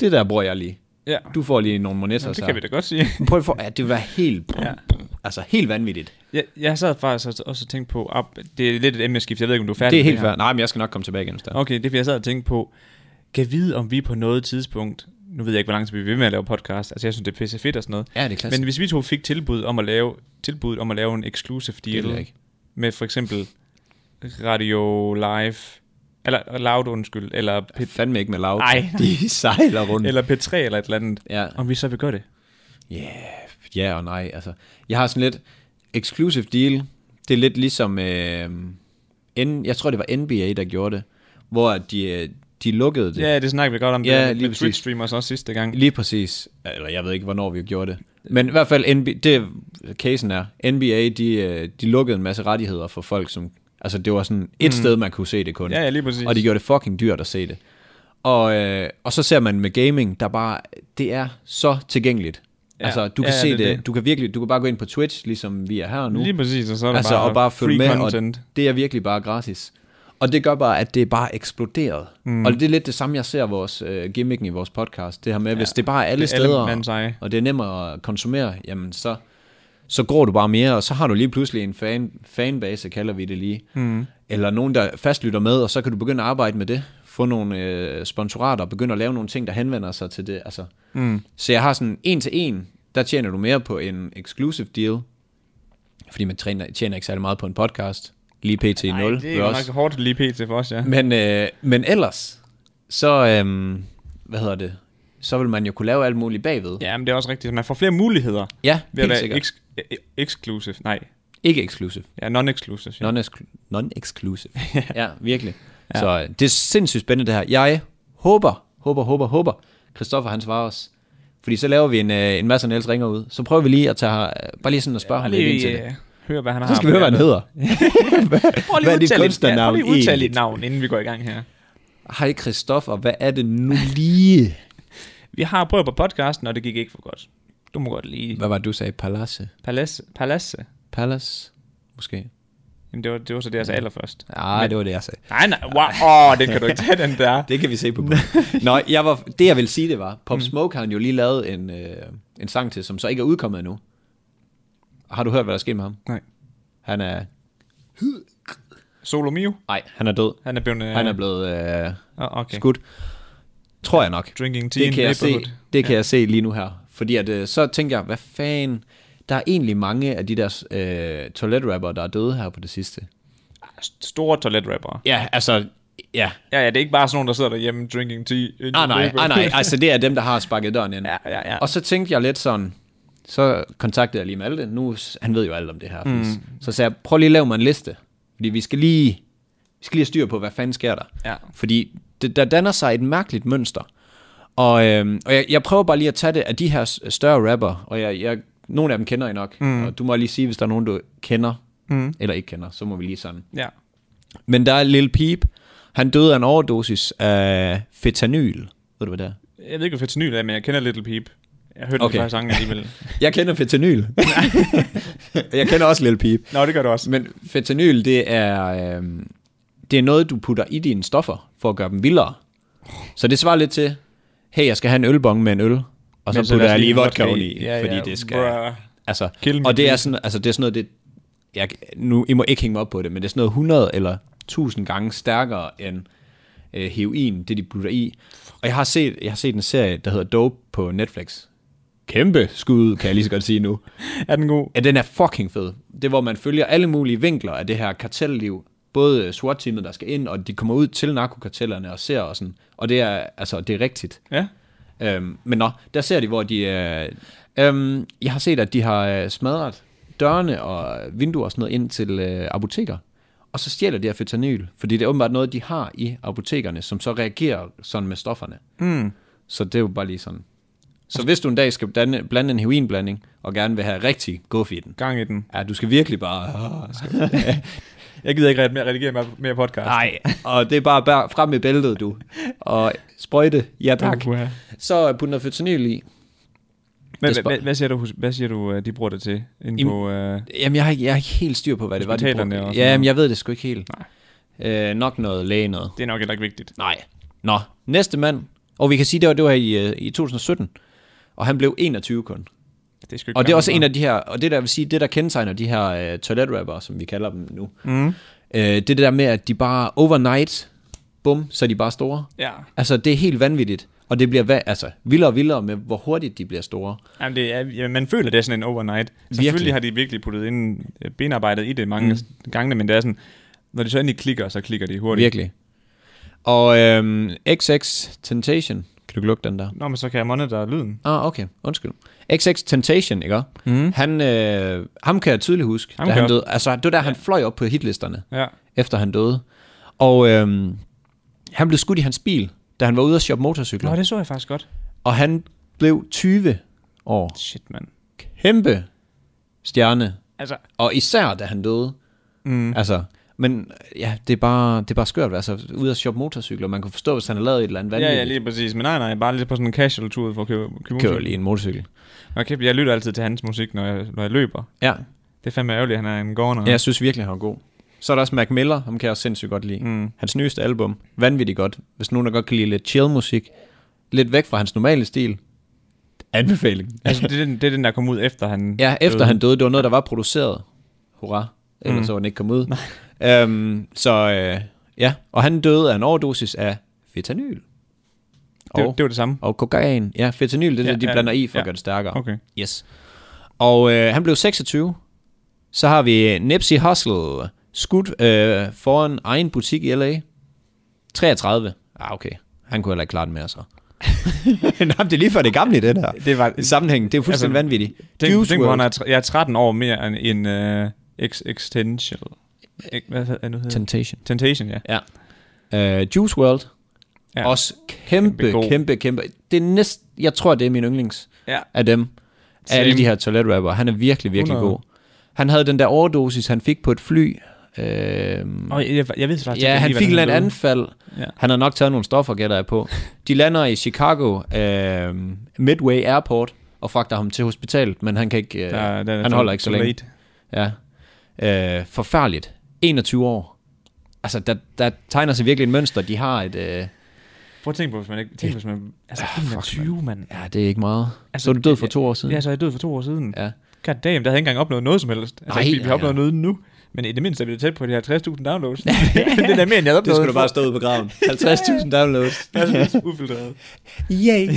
B: det der bruger jeg lige.
A: Ja,
B: Du får lige nogle monetter.
A: Jamen, det kan vi da godt sige.
B: Prøv at for, ja, det vil være helt, ja. altså helt vanvittigt.
A: Jeg, jeg sad faktisk også- også og tænkte på, op, det er lidt et emneskift, jeg ved ikke, om du er færdig
B: Det er
A: med
B: helt
A: her.
B: fair. Nej, men jeg skal nok komme tilbage igen. Okay.
A: Okay, det er fordi, jeg sad og tænkte på, kan vide, om vi på noget tidspunkt, nu ved jeg ikke, hvor lang tid vi er ved med at lave podcast, altså jeg synes, det er pisse fedt og sådan noget.
B: Ja, det er klasse.
A: Men hvis vi to fik tilbud om at lave, tilbud om at lave en exclusive
B: Det vil
A: deal
B: jeg ikke.
A: med for eksempel Radio Live, eller Loud, undskyld, eller, P-
B: Fandme ikke med lav.
A: Ej.
B: De sejler rundt.
A: eller P3 eller et eller andet,
B: Ja.
A: om vi så vil gøre det.
B: Ja, yeah, ja yeah og nej. Altså, jeg har sådan lidt exclusive deal. Det er lidt ligesom, øh, N, jeg tror det var NBA, der gjorde det, hvor at de, øh, de lukkede det.
A: Ja, det snakker vi godt om,
B: Ja,
A: det,
B: lige
A: med
B: præcis.
A: Twitch streamers også sidste gang.
B: Lige præcis. Eller jeg ved ikke, hvornår vi gjorde det. Men i hvert fald, NBA, det casen er, NBA, de, øh, de lukkede en masse rettigheder for folk, som, altså det var sådan et mm. sted, man kunne se det kun.
A: Ja, ja, lige præcis.
B: Og de gjorde det fucking dyrt at se det. Og, øh, og så ser man med gaming, der bare, det er så tilgængeligt.
A: Ja.
B: Ja. Altså, du
A: Ja,
B: kan
A: ja,
B: se
A: det
B: det,
A: er
B: det,
A: det.
B: du kan virkelig, du kan bare gå ind på Twitch, ligesom vi er her nu.
A: Lige præcis, og så er der
B: altså,
A: bare,
B: og bare
A: free
B: følge med,
A: content.
B: og det er virkelig bare gratis. Og det gør bare, at det er bare eksploderet. Mm. Og det er lidt det samme, jeg ser vores øh, gimmicken i vores podcast. Det her med, ja. hvis det bare er alle
A: Det er alle
B: steder,
A: mands eje.
B: og det er nemmere at konsumere, jamen så, så gror du bare mere, og så har du lige pludselig en fan, fanbase, kalder vi det lige. Mm. Eller nogen, der fastlytter med, og så kan du begynde at arbejde med det. Få nogle øh, sponsorater, og begynde at lave nogle ting, der henvender sig til det. Altså. Mm. Så jeg har sådan en til en, der tjener du mere på en exclusive deal, fordi man tjener, tjener ikke særlig meget på en podcast. Lige pt. 0.
A: Nej, det er jo nok hårdt lige pt for os, ja.
B: Men, øh, men ellers, så, øhm, hvad hedder det, så vil man jo kunne lave alt muligt bagved.
A: Ja, men det er også rigtigt. Man får flere muligheder
B: ja
A: ved at
B: helt
A: være
B: sikkert.
A: eks- e- e- exclusive. Nej,
B: Ikke exclusive.
A: Ja, non-exclusive. Ja.
B: Non-exclu- non-exclusive. ja, virkelig. Ja. Så øh, det er sindssygt spændende det her. Jeg håber, håber, håber, håber, Christoffer han svarer os. Fordi så laver vi en, øh, en masse Niels ringer ud. Så prøver vi lige at tage, øh, bare lige sådan at spørge ja, ham lidt ind til det.
A: øh, hør, hvad han har.
B: Så skal vi høre, hvad han hedder.
A: Prøv lige
B: Hvad er
A: at udtale
B: dit
A: dit- ja, prøv
B: kunstnernavn
A: lige at udtale
B: egentlig?
A: dit navn, inden vi går i gang her.
B: Hej Christoffer, hvad er det nu lige?
A: Vi har prøvet på podcasten, og det gik ikke for godt. Du må godt lige...
B: Hvad var det, du sagde? Palace?
A: Palace. Palace.
B: Palace? Måske.
A: Jamen, det var, det var så det, jeg sagde allerførst.
B: Nej, det var det, jeg sagde.
A: Nej, nej, wow, åh, oh, den kan du ikke tage, den der.
B: Det kan vi se på. bunden. Nå, jeg var, det jeg ville sige, det var, Pop Smoke har han jo lige lavet en, øh, en sang til, som så ikke er udkommet endnu. Har du hørt, hvad der er sket med ham?
A: Nej.
B: Han er...
A: Solo Mio,
B: Nej, han er død.
A: han er blevet... Øh,
B: Han er blevet øh,
A: oh, okay.
B: okay. skudt. Tror jeg nok.
A: Drinking tea
B: Det
A: in
B: kan, jeg se,
A: neighborhood.
B: det kan jeg se lige nu her. Fordi at, øh, så tænker jeg, hvad fanden... Der er egentlig mange af de der øh, toiletrapper, der er døde her på det sidste.
A: Store toiletrappere.
B: Ja, altså... Ja,
A: Ja, ja, det er ikke bare sådan nogen, der sidder derhjemme drinking tea. in
B: Ah,
A: your
B: nej, ah,
A: neighborhood.
B: nej, altså det er dem, der har sparket døren ind.
A: Ja, ja, ja.
B: Og så tænkte jeg lidt sådan, så kontaktede jeg lige Malte, nu, han ved jo alt om det her. Mm. Så sagde jeg, prøv lige at lave mig en liste, fordi vi skal lige, vi skal lige have styr på, hvad fanden sker der.
A: Ja.
B: Fordi det, der danner sig et mærkeligt mønster. Og, øhm, og jeg, jeg prøver bare lige at tage det af de her s- større rapper, og jeg, jeg, nogle af dem kender I nok, mm. og du må lige sige, hvis der er nogen, du kender, mm. eller ikke kender, så må vi lige sådan.
A: Ja.
B: Men der er Lil Peep, han døde af en overdosis af fentanyl. Ved du, hvad det er?
A: Jeg ved ikke, hvor fentanyl er, men jeg kender Little Peep. Jeg hørte okay.
B: Okay.
A: den første sang alligevel.
B: Jeg kender fentanyl. jeg kender også Lil Peep.
A: Nå, det gør du også.
B: Men fentanyl, det er, øh, det er noget, du putter i dine stoffer, for at gøre dem vildere. Så det svarer lidt til, hey, jeg skal have en ølbong med en øl, og så,
A: Men
B: så putter
A: lad os
B: jeg lige vodka
A: vodka
B: i, i ja, fordi ja, det skal...
A: bruh.
B: Altså,
A: Kill me,
B: og det er,
A: please.
B: sådan, altså, det er sådan noget, det, jeg, nu, I må ikke hænge mig op på det, men det er sådan noget 100 eller 1000 gange stærkere end øh, heroin, det de putter i. Og jeg har, set, jeg har set en serie, der hedder Dope på Netflix. Kæmpe skud, kan jeg lige så godt sige nu.
A: Er den god?
B: Ja, den er fucking fed. Det er, hvor man følger alle mulige vinkler af det her kartelliv. Både øh, SWAT-teamet, der skal ind, og de kommer ud til narkokartellerne og ser og sådan. Og det er, altså, det er rigtigt.
A: Ja.
B: Øhm, men nå, der ser de, hvor de... Øh, øhm, jeg har set, at de har øh, smadret dørene og vinduer og sådan noget ind til øh, apoteker. Og så stjæler de her fentanyl, fordi det er åbenbart noget, de har i apotekerne, som så reagerer sådan med stofferne.
A: Mm.
B: Så det er jo bare lige sådan. Så hvis du en dag skal blande, blande en heroinblanding, og gerne vil have rigtig guff i den,
A: Gang i den.
B: ja, du skal virkelig bare... åh, skal-
A: Jeg gider ikke ret mere redigere mere, mere podcast.
B: Nej, og det er bare bær, frem med bæltet, du. Og sprøjte, ja tak.
A: Uh, ja.
B: Så putter noget fentanyl i.
A: Men,
B: Det er spa-
A: hvad, hvad, siger du, hvad siger du, øh, de bruger det til? Inde
B: Im-
A: på, øh,
B: Jamen, jeg har, ikke, jeg har ikke helt styr på, hvad det var, de
A: Hospitalerne
B: brugte.
A: og sådan
B: Jamen,
A: noget.
B: jeg ved det sgu ikke helt. Nej. Øh, nok noget læge noget.
A: det er nok heller ikke vigtigt.
B: Nej. Nå, næste mand. Og vi kan sige, det var, det var i, øh, i 2017. Og han blev 21 kun.
A: Det er sgu ikke
B: Og det er også en
A: gammelt,
B: af de her, og det der vil sige, det der kendetegner de her øh, toiletrapper, som vi kalder dem nu, mm. øh, det er det der med, at de bare overnight, bum, så er de bare store.
A: Ja,
B: Altså, det er helt vanvittigt. Og det bliver va- altså, vildere og vildere med, hvor hurtigt de bliver store.
A: Jamen, det er, ja, man føler, det er sådan en overnight. Altså, Selvfølgelig
B: Virkelig.
A: har de virkelig puttet ind øh, benarbejdet i det mange mm. gange, men det er sådan, når de så endelig klikker, så klikker de hurtigt.
B: Virkelig. Og øhm, XX Temptation, kan du lukke den der?
A: Nå, men så kan jeg monitor lyden.
B: Ah, okay. Undskyld. XX Temptation, ikke? Mm. Han, øh, ham kan jeg tydeligt huske,
A: Mhm. Ham
B: ham da
A: kan
B: han
A: jeg
B: døde. Altså, det var der, han fløj op på hitlisterne,
A: Ja.
B: efter han døde. Og øhm, han blev skudt i hans bil, da han var ude at shoppe motorcykler.
A: Nå, det så jeg faktisk godt.
B: Og han blev 20 år.
A: Shit, mand.
B: Kæmpe stjerne.
A: Altså,
B: Og især, da han døde. Mm. Altså, men ja, det er bare, det er bare skørt. Altså, ude at shoppe motorcykler. Man kan forstå, hvis han har lavet et eller andet
A: ja,
B: vanvittigt.
A: ja, lige præcis. Men nej, nej, bare lidt på sådan en casual tur for at købe, købe
B: Kører
A: musik.
B: lige en motorcykel.
A: Og kæft, jeg lytter altid til hans musik, når jeg, når jeg løber.
B: Ja,
A: Det er fandme ærgerligt, at han er en gårdner.
B: Ja, jeg synes virkelig, han var god. Så er der også Mac Miller, ham kan jeg også sindssygt godt lide. Mm. Hans nyeste album, vanvittigt godt. Hvis nogen, der godt kan lide lidt chill musik, lidt væk fra hans normale stil. Anbefaling.
A: Altså, det er, den, det er den, der kom ud efter han...
B: Ja, efter han døde, det var noget, der var produceret. Hurra. Ellers mm. så var den ikke kommet ud. øhm, så øh, ja, og han døde af en overdosis af fentanyl.
A: Det,
B: Og-
A: det var det samme.
B: Og kokain. Ja, fentanyl, det er
A: Ja,
B: ja, det, de
A: ja,
B: blander i for ja.
A: ja.
B: at gøre det stærkere.
A: Okay.
B: Yes. Og øh, han blev 26. Så har vi øh, Nipsey Hussle, skudt øh, foran egen butik i L.A. 33. Ah, okay. Han kunne heller ikke klare den mere, så. Nej, men det er lige for det gamle, det der.
A: Det var...
B: Sammenhæng, det er jo fuldstændig
A: Altså,
B: vanvittigt.
A: Tænk,
B: Juice
A: tænk på,
B: WRLD.
A: han er, tre- jeg er 13 år mere end, end, øh, Existential. Ek- Hvad er det nu hedder?
B: Temptation.
A: Temptation, ja.
B: Ja. Uh, Juice World.
A: Ja.
B: Ja. Også kæmpe,
A: Kæmpe god.
B: kæmpe, kæmpe, kæmpe. Det er næst, jeg tror, det er min yndlings
A: Ja.
B: af dem. Af
A: Same.
B: alle de her toiletrapper. Han er virkelig, virkelig
A: 100.
B: god. Han havde den der overdosis, han fik på et fly. Øhm,
A: Og jeg, jeg, jeg ved faktisk
B: ja,
A: ikke
B: han
A: lige,
B: fik et eller
A: hvordan
B: andet
A: han
B: anfald.
A: Ja.
B: Ja. Han har nok taget nogle stoffer, gætter jeg på. De lander i Chicago øh, Midway Airport og fragter ham til hospitalet, men han kan ikke... Øh,
A: lød. Der- der-
B: han
A: der-
B: holder ikke så
A: der-
B: længe. Ja. Øh, forfærdeligt. 21 år. Altså, der, der tegner sig virkelig et mønster. De har et... Øh, ja,
A: Prøv at tænke på, hvis man ikke... Tænk, hvis man... Altså,
B: Ah, fuck,
A: 21, mand.
B: det er ikke meget.
A: Altså,
B: Altså, så er du død for
A: ja,
B: to år siden.
A: Ja, så er jeg død for to år siden.
B: Ja.
A: God damn, der havde jeg ikke engang opnået noget som helst. Altså,
B: Nej,
A: ikke, fordi vi har
B: nej, nej.
A: opnået noget nu. Men i det mindste er vi da tæt på de her 50.000 downloads. det er da mere, end jeg havde opnået.
B: stå ud på graven. 50.000 downloads.
A: stå. Ufiltreret.
B: Yay.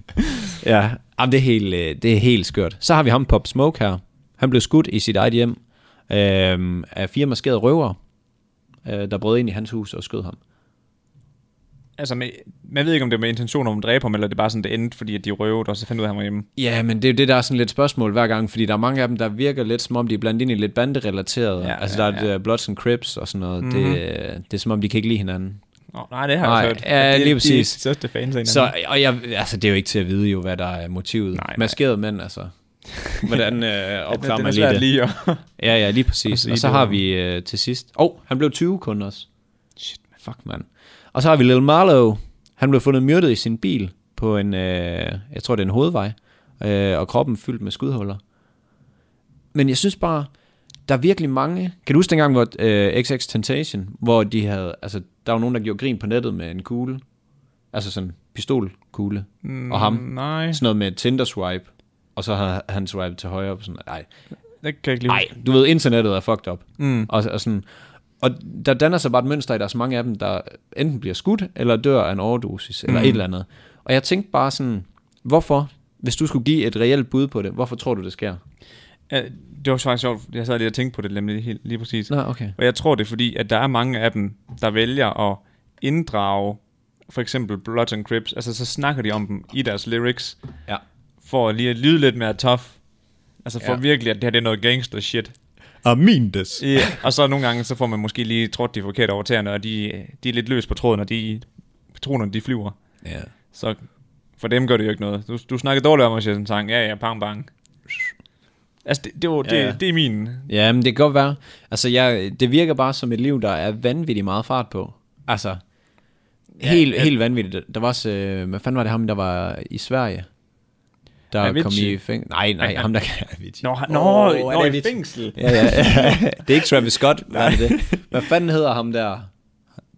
B: ja, jamen, det, er helt, øh, det er helt skørt. Så har vi ham Pop Smoke her. Han blev skudt i sit eget hjem øh, af fire maskerede røvere, øh, der brød ind i hans hus og skød ham.
A: Altså, med, man ved ikke, om det var med intention om at dræbe ham, eller det er bare sådan, det endte, fordi at de røvede, og så fandt ud af, at han var hjemme.
B: Ja, men det er jo det, der er sådan lidt spørgsmål hver gang, fordi der er mange af dem, der virker lidt som om, de er blandt ind i lidt banderelateret.
A: Ja,
B: Ja, altså,
A: ja, Mhm.
B: der er ja. Bloods and Crips og sådan noget. Mm-hmm. Det, øh, det er som om, de kan ikke lide hinanden.
A: Nå, nej, det har jeg
B: Nej,
A: også hørt. At
B: ja,
A: de-
B: lige
A: de er
B: præcis.
A: De største fans af hinanden.
B: Så, og jeg, altså, det er jo ikke til at vide jo, hvad der er motivet.
A: Nej, nej.
B: Maskerede mænd, altså. Hvordan øh,
A: det,
B: opklarer
A: det er
B: man lige
A: svært
B: det?
A: lige at...
B: Ja, ja, lige
A: Og
B: præcis.
A: sige
B: Og så
A: det
B: har
A: var-
B: vi øh, til sidst... Åh, oh, han blev 20 kun også. Shit, man. Fuck, mand. Og så har vi Lil Marlow. Han blev fundet myrdet i sin bil på en... Øh, jeg tror, det er en hovedvej. Øh, og kroppen fyldt med skudhuller. Men jeg synes bare, der er virkelig mange... Kan du huske dengang, hvor øh, XX Temptation, hvor de havde... Altså, der var nogen, der gjorde grin på nettet med en kugle. Altså sådan en pistolkugle. Mm. Og ham.
A: Nej,
B: Sådan noget med Tinder swipe. Og så havde han swipet til højre. og Sådan, nej,
A: det kan jeg ikke lige...
B: Nej, du ved, internettet er fucked up.
A: Mm.
B: Og, og, sådan, og der danner sig bare et mønster i, der er så mange af dem, der enten bliver skudt, eller dør af en overdosis, eller
A: Mm.
B: et eller andet. Og jeg tænkte bare sådan, hvorfor, hvis du skulle give et reelt bud på det, hvorfor tror du, det sker?
A: Ja, det var faktisk sjovt. Jeg sad lige og tænkte på det nemlig helt, lige præcis.
B: Nå, okay.
A: Og jeg tror, det er fordi, at der er mange af dem, der vælger at inddrage for eksempel Bloods and Crips. Altså, så snakker de om dem i deres lyrics,
B: Ja.
A: for lige at lyde lidt mere tough. Altså for ja.
B: Ja.
A: virkelig, at det her det er noget gangster shit.
B: I mean this.
A: Ja. og så nogle gange, så får man måske lige trådt de forkerte over tæerne, og de, de er lidt løs på tråden, og de, patronerne de flyver.
B: Ja.
A: Så for dem gør det jo ikke noget. Du, du snakkede dårligt om os i den sang. Ja, ja, bang, bang. Altså, det, det, var, det,
B: Ja, ja.
A: det er min...
B: ja, men det kan godt være. Altså, jeg, det virker bare som et liv, der er vanvittigt meget fart på. Altså,
A: Ja,
B: helt,
A: ja.
B: helt vanvittigt. Der var også, øh, hvad fanden var det ham, der var i Sverige? Der
A: Avicii.
B: kom i fængsel. Nej, nej, ham der kan
A: Nå, han- nå,
B: Åh,
A: oh,
B: er
A: nå
B: det
A: i
B: lidt-
A: fængsel.
B: Ja, ja. det er ikke Travis Scott, hvad er det? Hvad fanden hedder ham der?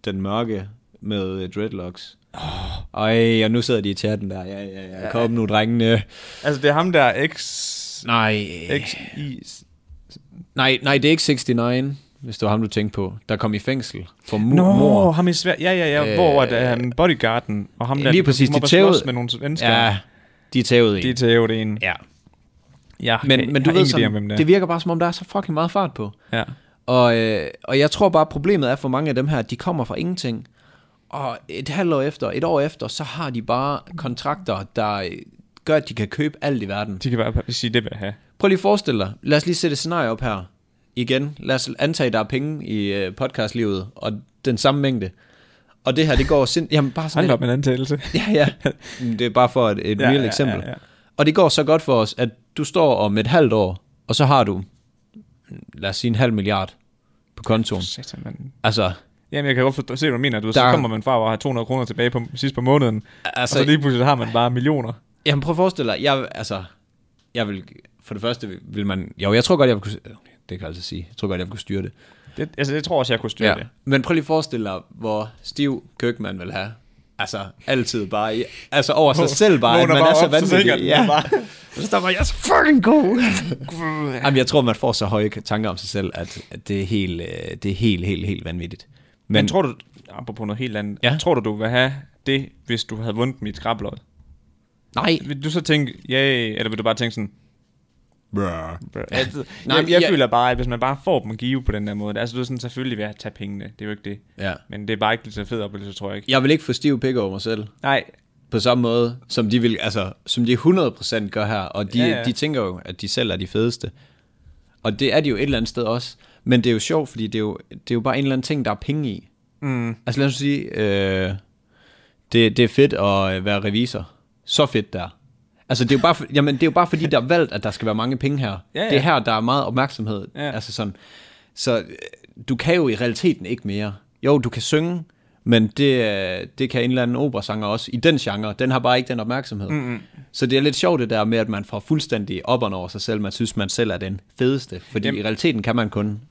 B: Den mørke med øh, dreadlocks. Oh. Ej, og nu sidder de i chatten der. Ja, ja, ja. Kom nu, drengene.
A: Altså, det er ham der X...
B: Nej.
A: X... I...
B: Nej, nej, det er ikke 69, hvis det var ham, du tænkte på. Der kom i fængsel for mu-
A: Nå,
B: mor.
A: ham i Sverige. Ja, ja, ja.
B: Øh,
A: hvor er det han bodyguarden? Og ham der,
B: lige
A: de
B: præcis,
A: kommer
B: de
A: og slås
B: tævede-
A: med nogle svensker.
B: Ja, de er tævet
A: De
B: i.
A: er tævet en.
B: Ja.
A: Ja,
B: Men, men du ved,
A: sådan,
B: sådan,
A: hvem det er.
B: det virker bare, som om der er så fucking meget fart på.
A: Ja.
B: Og, øh, og jeg tror bare, problemet er for mange af dem her, at de kommer fra ingenting. Og et halvt år efter, et år efter, så har de bare kontrakter, der øh, gør, at de kan købe alt i verden.
A: De kan bare sige, det vil jeg have.
B: Prøv lige at forestille dig. Lad os lige sætte et scenarie op her. Igen, lad os antage, der er penge i øh, podcastlivet, og den samme mængde. Og det her, det går sind... Jamen, bare sådan
A: Hold
B: lidt-
A: op med en antagelse.
B: Ja, ja. Men Det er bare for et, et
A: Ja,
B: ja, real
A: ja,
B: eksempel.
A: ja,
B: Ja,
A: ja.
B: ja. Og det går så godt for os, at du står om et halvt år, og så har du, lad os sige, en halv milliard på kontoen.
A: Satan, mand.
B: Altså,
A: Jamen, jeg kan godt forstå, se, hvad du mener. Du, ved, så
B: Der-
A: kommer man fra at have 200 kroner tilbage på, sidst på måneden, altså,
B: Altså-
A: og så lige pludselig har man bare millioner.
B: jamen prøv at forestille dig, jeg, altså, jeg vil, for det første vil man, jo, jeg tror godt, jeg vil kunne, det kan jeg altid sige, jeg tror godt, jeg vil kunne styre det.
A: Det, altså, det tror også, jeg kunne styre det.
B: Men prøv lige at forestille dig, hvor stiv Køkman vil have. Altså, altid bare, i- altså over sig selv bare, at
A: vågner
B: man
A: bare
B: er så
A: op, så tænker
B: vanvittig.
A: den
B: Ja.
A: bare,
B: Så står man, jeg er så fucking god. Jamen, jeg tror, man får så høje tanker om sig selv, at, at det, er helt, øh, det er helt, helt, helt vanvittigt.
A: Men,
B: Men,
A: tror du, apropos noget helt andet, ja.
B: Ja.
A: tror du, du vil have det, hvis du havde vundet mit skrablod?
B: nej.
A: Vil du så tænke, ja, yeah, eller vil du bare tænke sådan,
B: Brr.
A: altså,
B: Nej,
A: jeg,
B: men
A: jeg, jeg,
B: jeg-
A: føler bare, at hvis man bare får dem give på den der måde, altså du er sådan selvfølgelig ved at tage pengene, det er jo ikke det.
B: Ja.
A: Men det er bare ikke lidt så fed oplevelse, tror jeg ikke.
B: Jeg vil ikke få stiv pik over mig selv.
A: Nej,
B: på samme måde, som de, vil, altså, som de 100% gør her, og de,
A: Ja,
B: ja,
A: ja.
B: ja. de tænker jo, at de selv er de fedeste. Og det er det jo et eller andet sted også. Men det er jo sjovt, fordi det er jo, det er jo bare en eller anden ting, der er penge i.
A: Mm.
B: Altså lad os sige, øh, det, det er fedt at øh, være revisor. Så fedt der. Altså det er jo bare, for, jamen, det er jo bare fordi, der er valgt, at der skal være mange penge her.
A: Ja, ja.
B: Det er her, der er meget opmærksomhed.
A: Ja.
B: Altså sådan. Så øh, du kan jo i realiteten ikke mere. Jo, du kan synge, men det, øh, det kan en eller anden operasanger også i den genre. Den har bare ikke den opmærksomhed. Mm-hmm. Så det er lidt sjovt det der med, at man får fuldstændig op over sig selv. Man synes, man selv er den fedeste. Fordi
A: Jamen.
B: i realiteten kan man kun,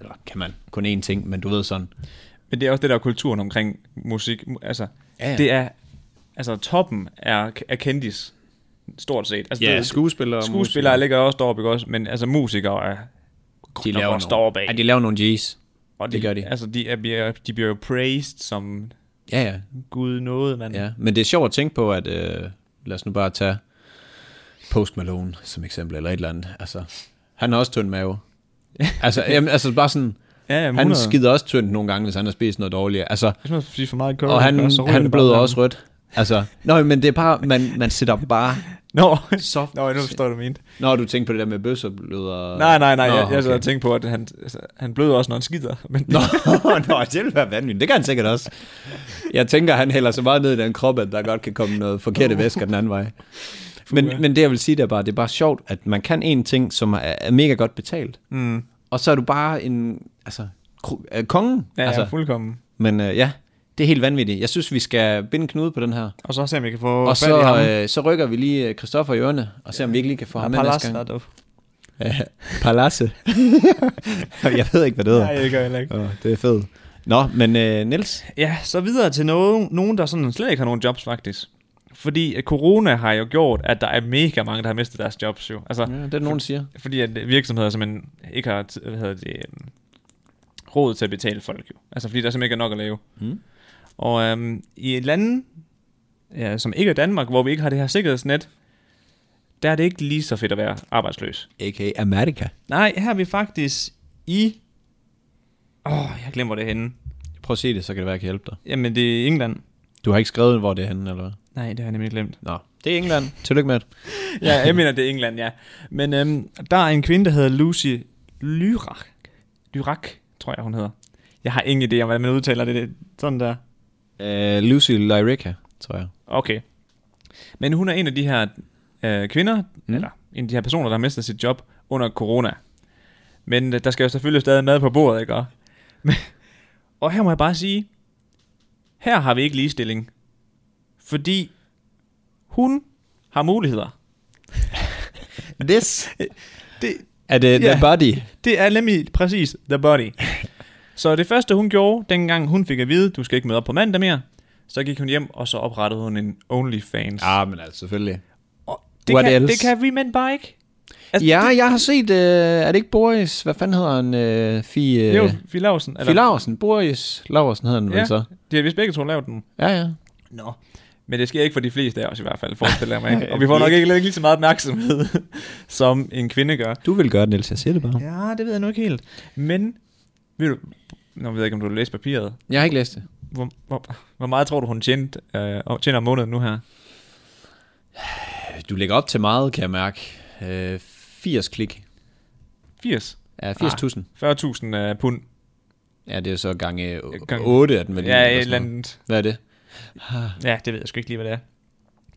B: eller kan man kun én ting, men du ved sådan.
A: Men det er også det der er kulturen omkring musik. Mu- Altså,
B: Ja,
A: ja,
B: ja.
A: ja. det er, altså toppen er, er kendis, stort set. Altså, det,
B: skuespillere.
A: skuespillere ligger også deroppe, ikke også? Men altså musikere er,
B: de
A: nok
B: laver
A: også
B: nogle,
A: deroppe af.
B: ja, de laver nogle G's.
A: og de,
B: Det gør de.
A: Altså, de, er, bliver- de bliver jo praised som
B: Ja, ja,
A: Gud noget, mand.
B: ja. Men det er sjovt at tænke på, at øh, lad os nu bare tage Post Malone som eksempel, eller et eller andet. Altså, han har også tynd mave. altså, jamen, altså bare sådan,
A: ja jamen,
B: han
A: 100.
B: skider også tyndt nogle gange, hvis han har spist noget dårligt. Altså,
A: Hvis man siger for meget curry,
B: og han,
A: så ryger
B: han
A: det bare
B: bløder
A: sammen.
B: også rødt. Altså, nej, men det er bare, man, man sætter dem bare
A: Nå,
B: så...
A: Nå, nu forstår jeg, hvad du mente.
B: Nå, du tænker på det der med bøsser bløder...
A: Nej, nej, nej,
B: Nå,
A: Nå, jeg, jeg sad
B: okay.
A: og tænkte på, at han, altså, han bløder også, når han skider. Men
B: Nå, nå, det ville være vanvittigt. Det kan han sikkert også. Jeg tænker, han hælder så meget ned i den krop, at der godt kan komme noget forkerte væsker den anden vej. Men, men det jeg vil sige, det er bare, det er bare sjovt, at man kan en ting, som er, er mega godt betalt.
A: mm,
B: Og så er du bare en, altså, kro- øh, kongen.
A: ja, altså.
B: altså.
A: ja, fuldkommen.
B: Men øh, ja, det er helt vanvittigt. Jeg synes, vi skal binde en knude på den her.
A: Og så se, om jeg kan få
B: Og
A: fat i ham.
B: så, øh, så rykker vi lige øh, Christoffer i ørene, og ser om vi ikke lige kan få ham med næste gang.
A: du.
B: Ja, Palace. jeg ved ikke, hvad det hedder.
A: Nej, det gør jeg heller ikke.
B: Åh, det er fedt. Nå, men øh, Niels,
A: Ja, så videre til nogen, nogen, der sådan slet ikke har nogen jobs, faktisk. Fordi at corona har jo gjort, at der er mega mange, der har mistet deres jobs jo. Altså,
B: Ja, det er nogen, der siger.
A: fordi at virksomheder simpelthen ikke har, tid- hvad hedder det, øhm, råd til at betale folk jo. Altså, fordi der simpelthen ikke er nok at lave.
B: Mm.
A: Og øhm, i et land, ja, som ikke er Danmark, hvor vi ikke har det her sikkerhedsnet, der er det ikke lige så fedt at være arbejdsløs.
B: A.k.a. Amerika.
A: Nej, her er vi faktisk i... Åh, oh, jeg glemmer det henne.
B: Prøv at se det, så kan det være, jeg kan hjælpe dig.
A: Jamen, det er England.
B: Du har ikke skrevet, hvor det er henne, eller hvad?
A: Nej, det har jeg nemlig glemt.
B: Nå, det er England. Tillykke med det.
A: Ja, jeg mener, det er England, ja. Men øhm, der er en kvinde, der hedder Lucy Lyrak. Lyrak, tror jeg, hun hedder. Jeg har ingen idé om, hvordan man udtaler det. det. Sådan der.
B: Uh, Lucy Lyrica, tror jeg.
A: Okay. Men hun er en af de her øh, kvinder,
B: Mm.
A: mm. eller en af de her personer, der har mistet sit job under corona. Men øh, der skal jo selvfølgelig stadig mad på bordet, ikke? Og- Men, og her må jeg bare sige, her har vi ikke ligestilling. Fordi hun har muligheder.
B: This.
A: Det,
B: Er det The
A: Ja.
B: Body?
A: Det er nemlig præcis The Body. Så det første, hun gjorde, dengang hun fik at vide, du skal ikke møde op på mandag mere, så gik hun hjem, og så oprettede hun en OnlyFans.
B: Ja, men altså, selvfølgelig.
A: Og det,
B: what
A: kan,
B: else?
A: det kan vi mænd bare ikke. Altså,
B: Ja, jeg har set, uh, er det ikke Boris? Hvad fanden hedder han? Uh, Fie,
A: det,
B: uh,
A: det er jo Fie Lausen.
B: Fie Laursen. Boris Laursen hedder han vel
A: Ja.
B: så?
A: De har vist begge to lavet den.
B: Ja, ja.
A: Nå. Men det sker ikke for de fleste af os i hvert fald, forestiller jeg mig. Ikke? Og vi får nok ikke lige så meget opmærksomhed, som en kvinde gør.
B: Du vil gøre det, Niels. Jeg siger det bare.
A: Ja, det ved jeg nu ikke helt. Men, ved du, Nå, jeg ved ikke, om du har læst papiret.
B: Jeg har ikke læst det.
A: Hvor, hvor, hvor meget tror du, hun tjente, øh, tjener om måneden nu her?
B: Øh, Du lægger op til meget, kan jeg mærke. Uh, 80 klik.
A: 80?
B: Ja, 80.000.
A: 40.000 øh, pund.
B: Ah. Ja, det er så gange
A: Gange-
B: 8 af den vel?
A: Ja, et eller andet.
B: Hvad er det?
A: Ja, det ved jeg sgu ikke lige, hvad det er.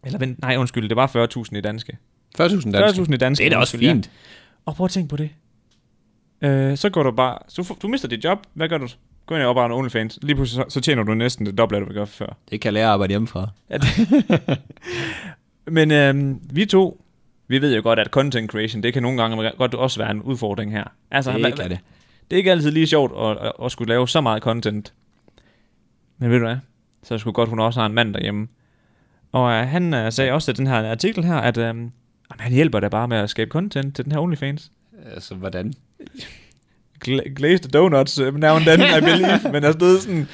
A: Eller vent, nej, undskyld, det var 40.000 i danske.
B: 40.000 danske.
A: 40.000 i danske.
B: Det er da også
A: undskyld, ja.
B: fint.
A: Og prøv at tænke på det. Øh, så går du bare... Så får- du mister dit job. Hvad gør du? Gå ind og opretter en OnlyFans. Lige pludselig så, så tjener du næsten det dobbelte, af, du gør før.
B: Det kan jeg lære at arbejde hjemmefra.
A: Men øh, vi to, vi ved jo godt, at content creation, det kan nogle gange godt også være en udfordring her. Altså,
B: Det
A: hvad-
B: kan det.
A: Det er ikke altid lige sjovt at, at, at skulle lave så meget content. Men ved du hvad? Så skulle godt, hun også har en mand derhjemme. Og øh, han øh, sagde også til den her artikel her, at øh, jamen, han hjælper da bare med at skabe content til den her OnlyFans.
B: Altså, hvordan?
A: Gla- glazed donuts øh, now and then, I believe. Men altså, det er sådan,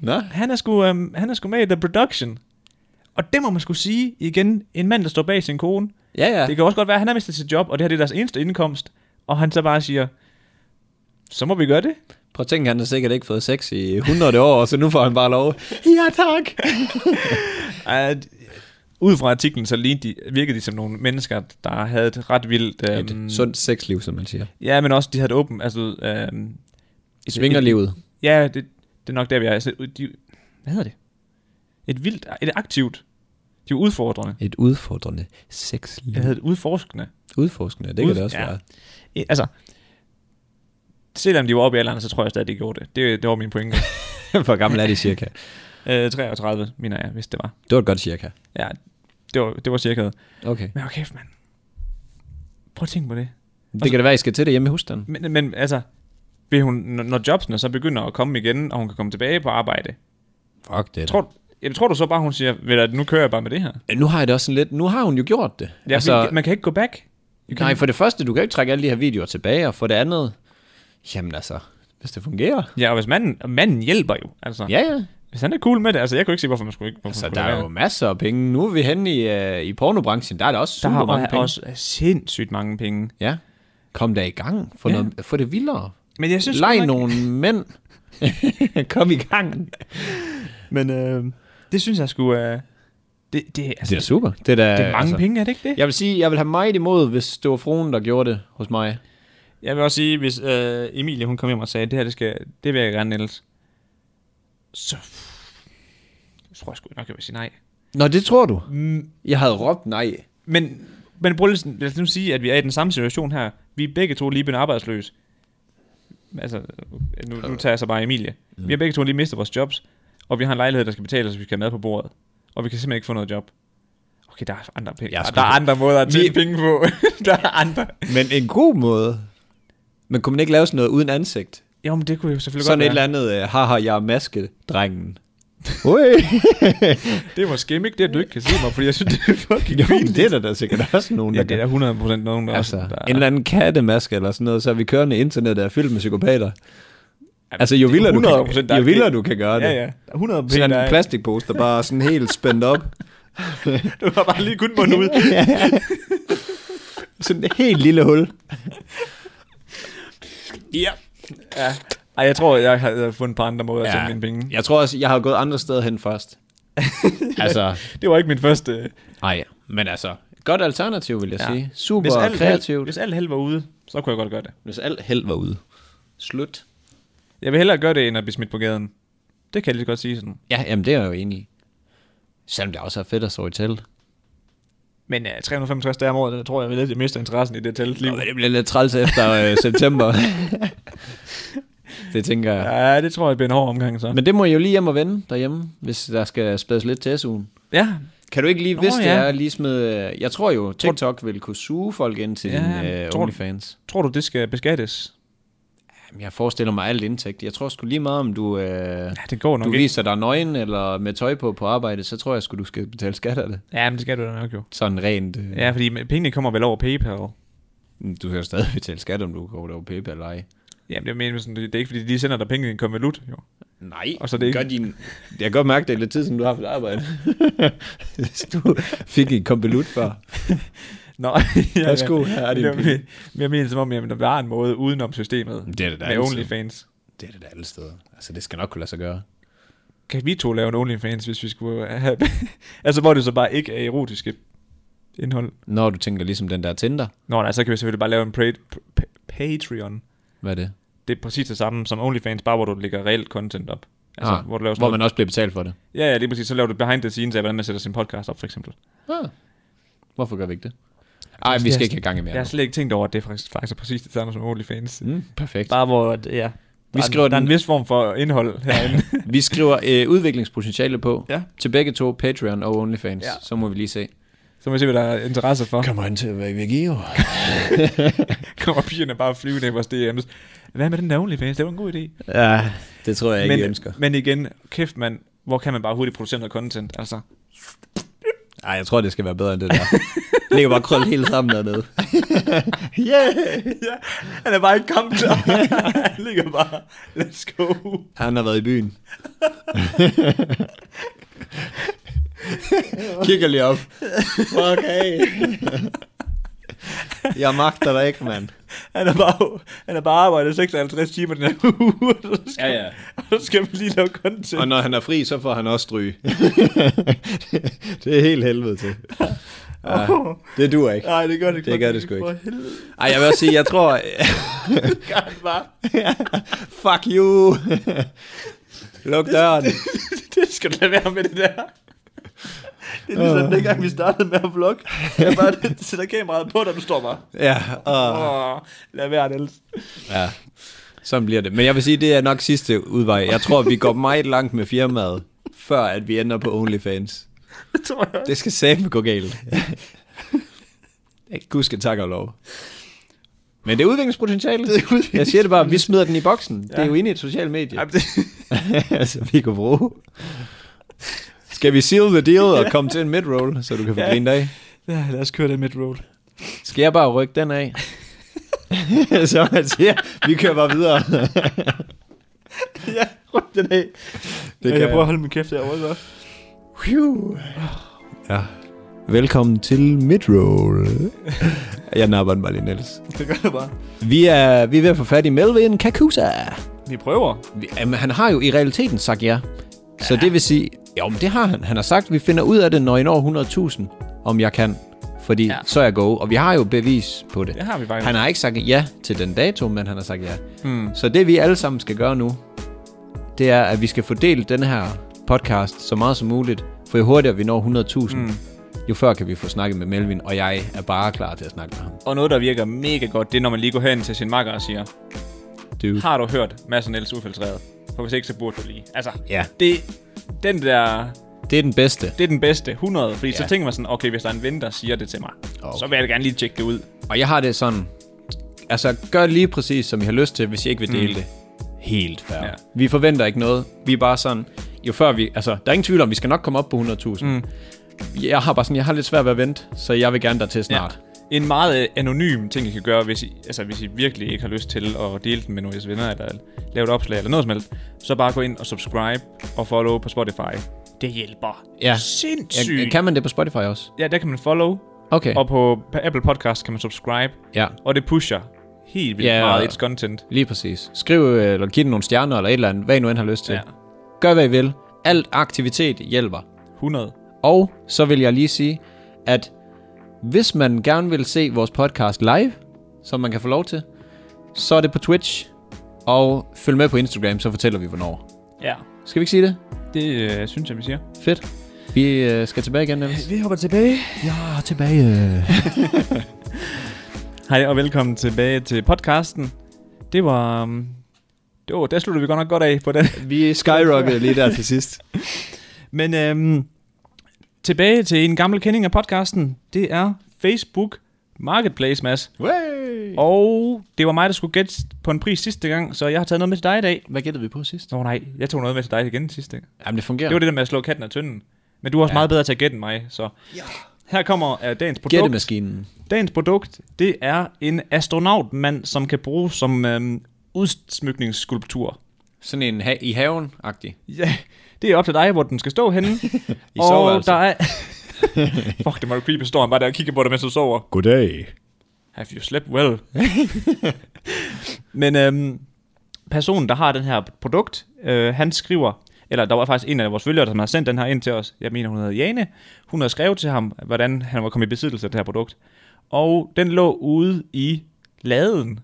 B: Nå?
A: han er, sgu, øh, han er sgu med i The Production. Og det må man skulle sige igen, en mand, der står bag sin kone.
B: Ja, ja.
A: Det kan også godt være, at han har mistet sit job, og det her det er deres eneste indkomst. Og han så bare siger, så må vi gøre det.
B: Prøv at tænke, han har sikkert ikke fået sex i 100 år, så nu får han bare lov. Ja, tak.
A: At, ud fra artiklen, så lignede de, virkede de som nogle mennesker, der havde et ret vildt...
B: Et
A: øhm,
B: sundt sexliv, som man siger.
A: Ja, men også, de havde et åbent... Altså, øhm, et-
B: Svingerlivet.
A: et- Ja, det, det er nok der, vi er. Altså, de, hvad hedder det? Et vildt... Et aktivt... De var udfordrende.
B: Et udfordrende sexliv.
A: Jeg havde et udforskende.
B: Udforskende, det kan
A: Ud-
B: det også
A: ja.
B: være.
A: I- Altså, selvom de var oppe i alderen, så tror jeg stadig, de gjorde det. Det, det var min pointe.
B: Hvor gammel er de cirka?
A: øh, 33, mener jeg, hvis det var.
B: Det var et godt cirka.
A: Ja, det var, det var cirka det.
B: Okay.
A: Men okay, mand. Prøv at tænke på det.
B: Det kan da være, I skal til det hjemme i husstanden.
A: Men, men altså, vil hun, når- når jobsene så begynder at komme igen, og hun kan komme tilbage på arbejde,
B: Fuck det.
A: tror, jeg tror du så bare, hun siger, ved du, nu kører jeg bare med det her?
B: Nu har jeg det også sådan lidt... Nu har hun jo gjort det.
A: Ja, altså, man kan ikke gå back.
B: nej, for det første, du kan jo ikke trække alle de her videoer tilbage, og for det andet... Jamen altså, hvis det fungerer.
A: Ja, og hvis manden, og manden hjælper jo, altså.
B: Ja, ja.
A: Hvis han er cool med det, altså jeg kunne ikke se, hvorfor man skulle ikke... Hvorfor
B: Så
A: man
B: der
A: skulle lade
B: er jo masser af penge. Nu er vi henne i, øh, i pornobranchen. Der er der også super
A: være. der
B: mange
A: er
B: penge.
A: også sindssygt mange penge.
B: Ja. Kom da i gang. Få,
A: Ja.
B: ja. noget, få det vildere.
A: Men jeg synes...
B: Leg
A: godt nok-
B: nogle mænd. Kom i gang.
A: Men øh, det synes jeg skulle... Øh, det, det, altså,
B: Det er super. Det er, da,
A: det er mange altså, penge, er det ikke det?
B: Jeg vil sige, jeg vil have meget imod, hvis det var fruen, der gjorde det hos mig.
A: Jeg vil også sige, hvis øh, Emilie hun kom hjem og sagde, det her det, skal, det vil jeg gerne, Niels. Så jeg tror jeg sgu nok, jeg vil sige nej.
B: Nå, det tror du.
A: Mm,
B: Jeg havde råbt nej.
A: Men, men prøv lige, sådan- lad os nu sige, at vi er i den samme situation her. Vi er begge to lige blevet arbejdsløse. Altså, nu, nu tager jeg så bare Emilie. Vi har begge to lige mistet vores jobs, og vi har en lejlighed, der skal betales, så vi skal have mad på bordet. Og vi kan simpelthen ikke få noget job. Okay, der er andre, penge.
B: Jeg er
A: Der,
B: sgu-
A: der er andre måder at
B: Vi-
A: tjene penge på. der er andre.
B: Men en god måde. Men kunne man ikke lave sådan noget uden ansigt?
A: Jo, men det kunne jo selvfølgelig
B: Sådan et
A: godt
B: eller
A: være.
B: andet, øh, haha, jeg er maskedrengen. Ui.
A: Det var skimmick, det at du ikke kan se mig, fordi jeg synes, det er fucking
B: jo, men
A: pinligt.
B: det er der da sikkert også nogen, der
A: Ja, det er
B: gør.
A: der 100% nogen, der
B: Altså,
A: også... Der,
B: en eller anden kattemaske eller sådan noget, så er vi kørende internet, der er fyldt med psykopater. Altså, jo
A: det er
B: vildere du,
A: 100%
B: kan,
A: der
B: jo
A: er-
B: vildere du kan gøre det.
A: Ja, ja. 100%
B: Sådan
A: der
B: en
A: er-
B: plastikpose, der bare er sådan helt spændt op.
A: Du har bare lige kun munden ud.
B: Sådan et helt lille hul.
A: Ja. ja. Ej, jeg tror, jeg havde fundet et par andre måder ja. at tjene mine penge.
B: Jeg tror også, jeg har gået andre steder hen først. altså,
A: Det var ikke min første...
B: nej, men altså, godt alternativ, vil jeg
A: Ja.
B: ja. sige. Super
A: hvis alt,
B: kreativt.
A: Held, hvis alt held var ude, så kunne jeg godt gøre det.
B: hvis alt held var ude. Slut.
A: Jeg vil hellere gøre det, end at blive smidt på gaden. Det kan jeg lige så godt sige sådan.
B: Ja, jamen det er jeg jo enig i. Selvom det også er fedt at sove i telt.
A: Men uh, 365 dage om året, der tror jeg, at jeg mister interessen i det telt liv.
B: Nå, men det bliver lidt træls efter øh, september. det tænker jeg.
A: Ja, det tror jeg bliver en hård omgang så.
B: Men det må I jo lige hjem og vende derhjemme, hvis der skal spædes lidt til SU'en.
A: ja,
B: Kan du ikke lige,
A: Nå,
B: hvis det
A: ja.
B: er, lige smide... øh, Jeg tror jo, TikTok vil kunne suge folk ind til
A: Ja,
B: din øh,
A: tror du-
B: OnlyFans.
A: tror du, det skal beskattes?
B: Jamen, jeg forestiller mig alt indtægt. Jeg tror sgu lige meget, om du, øh,
A: Ja, det går nok
B: du
A: ikke.
B: viser dig nøgen eller med tøj på på arbejde, så tror jeg sgu, du skal betale skat af det.
A: Ja, men det skal du da nok jo.
B: Sådan rent. Øh,
A: Ja, fordi pengene kommer vel over PayPal.
B: Du skal jo stadig betale skat, om du går over PayPal eller ej.
A: Jamen, det, mener, jeg sådan, det er ikke, fordi de sender dig penge i en konvolut, jo.
B: Nej,
A: Og så er det ikke-
B: gør din... Jeg kan godt mærke, det er lidt tid, som du har på dit arbejde. du fik en kompelut før.
A: Nå, ja,
B: Værsgo, her er din
A: det,
B: penge.
A: men, men jeg mener, som om jamen, der var en måde udenom systemet.
B: Det er det da
A: Med
B: altid.
A: OnlyFans.
B: Det er det da alle steder. Altså, det skal nok kunne lade sig gøre.
A: Kan vi to lave en OnlyFans, hvis vi skulle have... altså, hvor det så bare ikke er erotiske indhold.
B: Når du tænker ligesom den der Tinder.
A: Nå, nej, så kan vi selvfølgelig bare lave en pra- p- p- Patreon.
B: Hvad er det?
A: Det er præcis det samme som OnlyFans, bare hvor du lægger reelt content op. Altså, hvor du laver sådan
B: Ah, hvor
A: noget.
B: man også bliver betalt for det.
A: Ja, ja, lige præcis. Så laver du behind the scenes af, hvordan man sætter sin podcast op, for eksempel.
B: Ah. Hvorfor gør vi ikke det? Ej,
A: Det
B: vi
A: er
B: skal
A: sådan-
B: ikke have gang i
A: Ja. Jeg
B: mere.
A: har slet ikke tænkt over, at det er faktisk, faktisk er præcis det samme som OnlyFans.
B: nu. Mm, perfekt.
A: Bare hvor, at- ja.
B: Vi
A: der,
B: skriver
A: er, der er en
B: den-
A: vis form for indhold herinde.
B: Vi skriver øh, udviklingspotentiale på
A: Ja.
B: til begge to, Patreon og OnlyFans.
A: Ja.
B: Ja. Så må vi lige se.
A: så må vi se, hvad der er interesse for.
B: Kommer han til at være i Vigio?
A: kommer pigerne bare flyvende i vores DM's. Hvad med den der OnlyFans? Det var en god idé.
B: Ja, det tror jeg ikke,
A: men,
B: I ønsker.
A: men igen, kæft mand, hvor kan man bare hurtigt producere noget content? Altså,
B: Nej, jeg tror, det skal være bedre end det der. Det ligger bare krøllet helt sammen dernede. yeah!
A: ja, han er bare ikke kommet klar. han ligger bare, let's go.
B: Han har været i byen. Kigger lige op. Fuck, hey. Jeg magter dig ikke, mand.
A: han har bare, han har bare arbejdet 56 timer den her uge, og så skal,
B: Ja, ja.
A: og så skal vi lige lave content.
B: Og når han er fri, så får han også stryge. det er helt helvede til. Ja, det duer ikke.
A: Nej, det gør det,
B: Det
A: godt
B: gør det sgu ikke.
A: For helvede,
B: Ej, jeg vil også sige, jeg tror...
A: det gør han bare.
B: Fuck you! Luk døren.
A: det skal du lade være med det der. Det er ligesom dengang, vi startede med at vlogge. Jeg bare det- sætter kameraet på, og du står bare.
B: Ja, og,
A: Åh, lad være, Niels.
B: ja, sådan bliver det. Men jeg vil sige, det er nok sidste udvej. Jeg tror, vi går meget langt med firmaet, før at vi ender på OnlyFans.
A: Det tror jeg.
B: Det skal sæbe gå galt. Gud skal tak og lov. Men det er udviklingspotentiale. Jeg siger det bare, vi smider den i boksen. Det er jo inde i et socialt medie.
A: Ej, men det,
B: altså, vi kan bruge. Skal vi seal the deal og komme til en midroll, så du kan få
A: Ja.
B: grine dig? af?
A: ja, lad os køre det mid-roll.
B: Skal jeg bare rykke den af? så man siger, vi kører bare videre.
A: ja, rundt den af.
B: Det
A: Det
B: kan
A: jeg, jeg prøver
B: jeg.
A: at holde min kæft derovre, så.
B: Phew. Ja. Velkommen til midroll. jeg napper den bare lige, Niels.
A: Det gør det bare.
B: Vi er, vi er ved at få fat i Melvin Kakusa.
A: Vi prøver.
B: Vi- Jamen, han har jo i realiteten sagt ja. Så det vil sige, jo, men det har han. Han har sagt, vi finder ud af det, når I når 100.000, om jeg kan. Fordi ja.
A: Ja.
B: så er jeg go. Og vi har jo bevis på det.
A: Det har vi faktisk.
B: Han har ikke sagt ja til den dato, men han har sagt ja. Mm. Så det vi alle sammen skal gøre nu, det er, at vi skal fordele den her podcast så meget som muligt. For jo hurtigere vi når 100.000, mm. jo før kan vi få snakket med Melvin, og jeg er bare klar til at snakke med ham.
A: Og noget, der virker mega godt, det er, når man lige går hen til sin makker og siger,
B: Du.
A: har du hørt Mads og Niels ufiltreret? For hvis ikke, så burde du lige. Altså,
B: Ja,
A: det, den der,
B: det er den bedste.
A: det er den bedste 100, fordi ja.
B: Ja.
A: så tænker man sådan, okay, hvis der er en ven, der siger det til mig,
B: Okay.
A: okay. så vil jeg da gerne lige tjekke det ud.
B: Og jeg har det sådan, altså gør lige præcis, som I har lyst til, hvis I ikke vil dele mm. det. Helt fair. Ja.
A: Ja.
B: Vi forventer ikke noget. Vi er bare sådan, jo før vi, altså der er ingen tvivl om, vi skal nok komme op på 100.000. Mm. Jeg har bare sådan, jeg har lidt svært ved at vente, så jeg vil gerne dertil snart.
A: En meget øh, anonym ting, I kan gøre, hvis I, altså, hvis I virkelig ikke har lyst til at dele den med nogle af jeres venner, eller lave et opslag, eller noget som helst, så bare gå ind og subscribe og follow på Spotify. Det hjælper.
B: Ja.
A: Sindssygt.
B: Jeg, kan man det på Spotify også?
A: Ja, der kan man follow,
B: Okay.
A: og på på Apple Podcast kan man subscribe,
B: Ja,
A: og det pusher helt vildt
B: Ja,
A: yeah. meget
B: og-
A: its content.
B: lige præcis. Skriv øh, eller giv den nogle stjerner eller et eller andet, hvad I nu end har lyst til. Ja.
A: Ja.
B: Gør hvad I vil. Alt aktivitet hjælper.
A: 100.
B: Og så vil jeg lige sige, at hvis man gerne vil se vores podcast live, som man kan få lov til, så er det på Twitch. Og følg med på Instagram, så fortæller vi hvornår.
A: Ja,
B: Skal vi ikke sige det?
A: det øh, synes jeg, vi siger.
B: Fedt. Vi øh, skal tilbage igen, Niels.
A: Vi øh. hopper tilbage.
B: Ja, tilbage.
A: Hej og velkommen tilbage til podcasten. Det var... Um, det var der sluttede vi godt nok godt af på den.
B: Vi skyrockede lige der til sidst.
A: Men øhm, tilbage til en gammel kending af podcasten. Det er Facebook Marketplace, Mads.
B: Way!
A: Og det var mig, der skulle gætte på en pris sidste gang, så jeg har taget noget med til dig i dag.
B: Hvad gættede vi på sidst?
A: Nå nej, jeg tog noget med til dig igen sidste gang.
B: Jamen, det fungerer.
A: Det var det der med at slå katten af tynden. Men du er også ja. meget bedre til at gætte end mig, så... Ja. Her kommer uh, dagens produkt.
B: Gættemaskinen.
A: Dagens produkt, det er en astronautmand, som kan bruges som øhm, udsmykningsskulptur.
B: Sådan en ha- i haven-agtig.
A: Ja, det er op til dig, hvor den skal stå henne.
B: I
A: og
B: soveværelset.
A: der er... Fuck, det var jo creepy, står han bare der og kigger på dig, mens du sover.
B: Goddag.
A: Have you slept well? Men øhm, personen, der har den her produkt, øh, han skriver, eller der var faktisk en af vores følgere, som har sendt den her ind til os, jeg mener hun hedder Jane, hun har skrevet til ham, hvordan han var kommet i besiddelse af det her produkt. Og den lå ude i laden,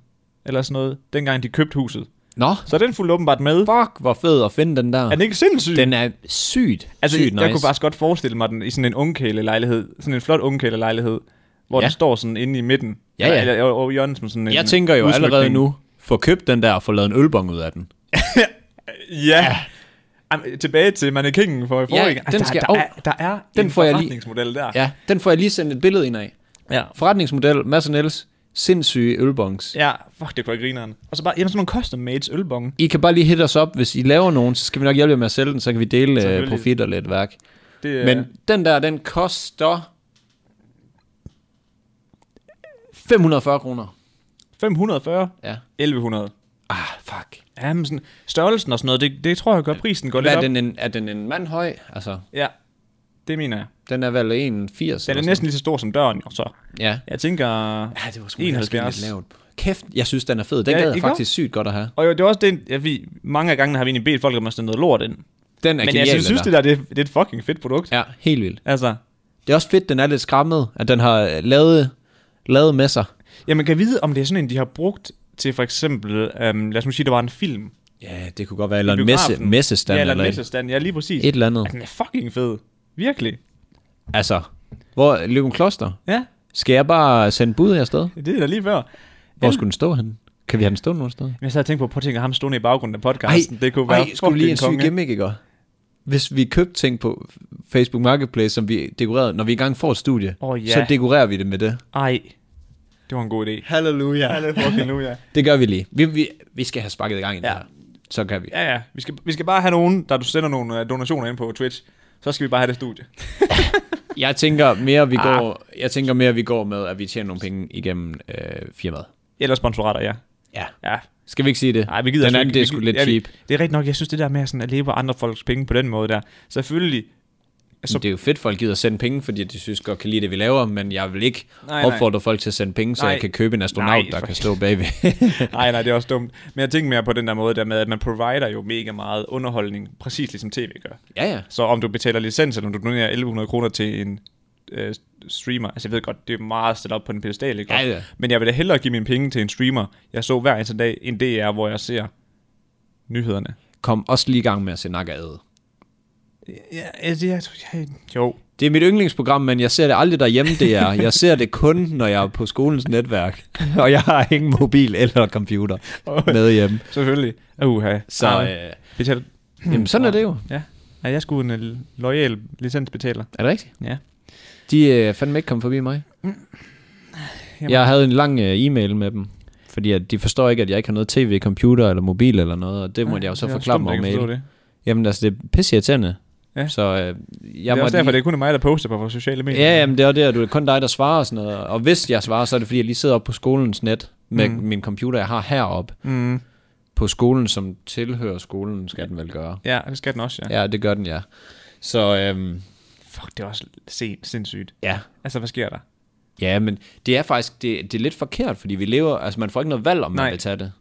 A: eller sådan noget, dengang de købte huset.
B: Nå,
A: Så den fulgte åbenbart med.
B: fuck, hvor fed at finde den der.
A: Er den ikke sindssyg?
B: Den er sygt,
A: altså,
B: sygt
A: jeg,
B: nice.
A: jeg kunne faktisk godt forestille mig den i sådan en ungkæle-lejlighed, sådan en flot ungkæle-lejlighed, hvor
B: Ja.
A: ja. den står sådan inde i midten.
B: Ja, ja.
A: Eller, eller over hjørnet som sådan en
B: Jeg tænker jo
A: udsmykning.
B: allerede nu, få købt den der og få lavet en ølbong ud af den.
A: Ja. Jamen, tilbage til mannekingen for i forrige. gang. Altså,
B: den
A: der,
B: skal-
A: der,
B: Au.
A: er, der er
B: Den
A: en
B: får jeg lige-
A: forretningsmodel der.
B: Ja, den får jeg lige sendt et billede ind af.
A: ja.
B: Forretningsmodel, Mads og Niels, sindssyge ølbongs.
A: Ja, fuck, det kunne jeg grineren. Og så bare, jamen sådan nogle custom mades ølbonge.
B: I kan bare lige hit os op, hvis I laver nogen, så skal vi nok hjælpe jer med at sælge den, så kan vi dele uh,
A: Selvfølgelig.
B: profit og lidt værk.
A: Det,
B: Ja.
A: er-
B: Men den der, den koster 540 kroner.
A: 540,
B: Ja.
A: 1100.
B: Ah, fuck.
A: Jamen sådan, størrelsen og sådan noget, det, det tror jeg gør prisen går
B: Hvad
A: lidt
B: er,
A: op.
B: den en, er den en mand høj? Altså,
A: Ja, det mener jeg.
B: den er vel 1,80?
A: Den er næsten lige så stor som døren, jo, så.
B: Ja.
A: Jeg tænker,
B: Ja, det var sgu
A: 71.
B: lavt. Kæft, jeg synes, den er fed. Den
A: Ja,
B: ja, gad jeg
A: ikke
B: faktisk sygt godt at have.
A: Og jo, det er også det, ja, vi, mange af gangene har vi egentlig bedt folk om at sende noget lort ind.
B: Den er
A: Men
B: genial,
A: jeg synes,
B: den
A: synes det der, det, er- det er et fucking fedt produkt. Ja.
B: Ja, helt vildt.
A: Altså,
B: Det er også fedt, den er lidt skræmmet, at den har øh, lavet, lavet med sig.
A: jamen kan jeg vide, om det er sådan en, de har brugt til for eksempel, øhm, lad os nu sige, der var en film.
B: Ja, det kunne godt være, eller en messe,
A: biografen.
B: messestand,
A: ja,
B: eller,
A: eller en
B: eller et,
A: messestand. Ja, lige præcis.
B: et eller
A: Ja,
B: andet.
A: den er fucking fed. Virkelig.
B: Altså, hvor Løben Kloster?
A: Ja,
B: Skal jeg bare sende bud afsted?
A: det er da lige før.
B: Hvor
A: Ja.
B: skulle den stå henne? Kan vi have den stå nogen sted?
A: Men jeg sad og tænkte på, prøv at tænke ham stående i baggrunden af podcasten. det kunne være
B: ej, skulle vi lige en syg
A: fucking konge.
B: gimmick, ikke? også? Hvis vi købte ting på Facebook Marketplace, som vi dekorerede, når vi engang får et studie,
A: Åh, ja.
B: så dekorerer vi det med det.
A: Ej, det var en god idé.
B: Halleluja.
A: Ja, det er fucking nu, ja.
B: Det gør vi lige. Vi, vi, vi skal have sparket i gang i ja.
A: Ja.
B: det her. Så kan vi.
A: Ja, ja. Vi skal, vi skal bare have nogen, der du sender nogle øh, donationer ind på Twitch. Så skal vi bare have det studie.
B: Jeg tænker mere, vi
A: Ah.
B: går, jeg tænker mere, vi går med, at vi tjener nogle penge igennem øh, firmaet.
A: Eller sponsorater, ja.
B: Ja.
A: Ja,
B: Skal vi ikke sige det?
A: Nej, vi gider
B: Den
A: sgu
B: anden,
A: ikke-
B: det er
A: vi
B: sgu
A: gi-
B: lidt
A: ja, vi-
B: cheap.
A: Det er rigtigt nok, jeg synes det der med sådan at leve af andre folks penge på den måde der. Selvfølgelig,
B: Så... Det er jo fedt, folk gider sende penge, fordi de synes godt kan lide det, vi laver, men jeg vil ikke
A: Nej,
B: nej,
A: nej.
B: opfordre folk til at sende penge, så
A: Nej.
B: jeg kan købe en astronaut,
A: Nej,
B: der
A: for-
B: kan stå bagved.
A: nej nej, det er også dumt. Men jeg tænker mere på den der måde der med, at man provider jo mega meget underholdning, præcis ligesom tv gør.
B: ja, ja.
A: Så om du betaler licens, eller om du donerer 1100 kroner til en øh, streamer, altså jeg ved godt, det er meget stillet op på en pedestal, ikke?
B: Ja, ja.
A: Men jeg vil da hellere give mine penge til en streamer, jeg så hver eneste dag, en DR, hvor jeg ser nyhederne.
B: Kom også lige i gang med at se Naga Ad.
A: Ja, altså, jeg, jeg, jo.
B: Det er mit yndlingsprogram, men jeg ser det aldrig derhjemme, det er. Jeg ser det kun, når jeg er på skolens netværk, og jeg har ingen mobil eller computer med hjemme.
A: Selvfølgelig. Uha.
B: Så
A: Ej.
B: øh,
A: Betaler,
B: jamen, sådan er det jo.
A: Ja. ja jeg skulle en øh, loyal licensbetaler.
B: Er det rigtigt?
A: Ja.
B: De øh, fandme ikke kommet forbi mig.
A: Jamen.
B: Jeg havde en lang øh, e-mail med dem, fordi at de forstår ikke, at jeg ikke har noget tv, computer eller mobil eller noget, og det måtte jeg jo så forklare mig om mail.
A: Det.
B: Jamen altså, det er pisseirriterende.
A: Ja.
B: Så øh,
A: Jeg
B: jeg
A: det er også
B: måtte
A: derfor,
B: lige...
A: det er kun mig, der poster på vores sociale medier.
B: Ja, jamen, det er også det, og du er kun dig, der svarer og sådan noget. Og hvis jeg svarer, så er det fordi, jeg lige sidder oppe på skolens net med
A: Mm.
B: mm. min computer, jeg har heroppe
A: Mm.
B: på skolen, som tilhører skolen, skal den vel gøre.
A: ja, det skal den også, ja. ja.
B: Ja, det gør den, ja. Så øhm,
A: Fuck, det er også sent, sindssygt.
B: ja,
A: Altså, hvad sker der?
B: Ja, men det er faktisk det, det er lidt forkert, fordi vi lever, altså man får ikke noget valg, om
A: Nej.
B: man vil tage det.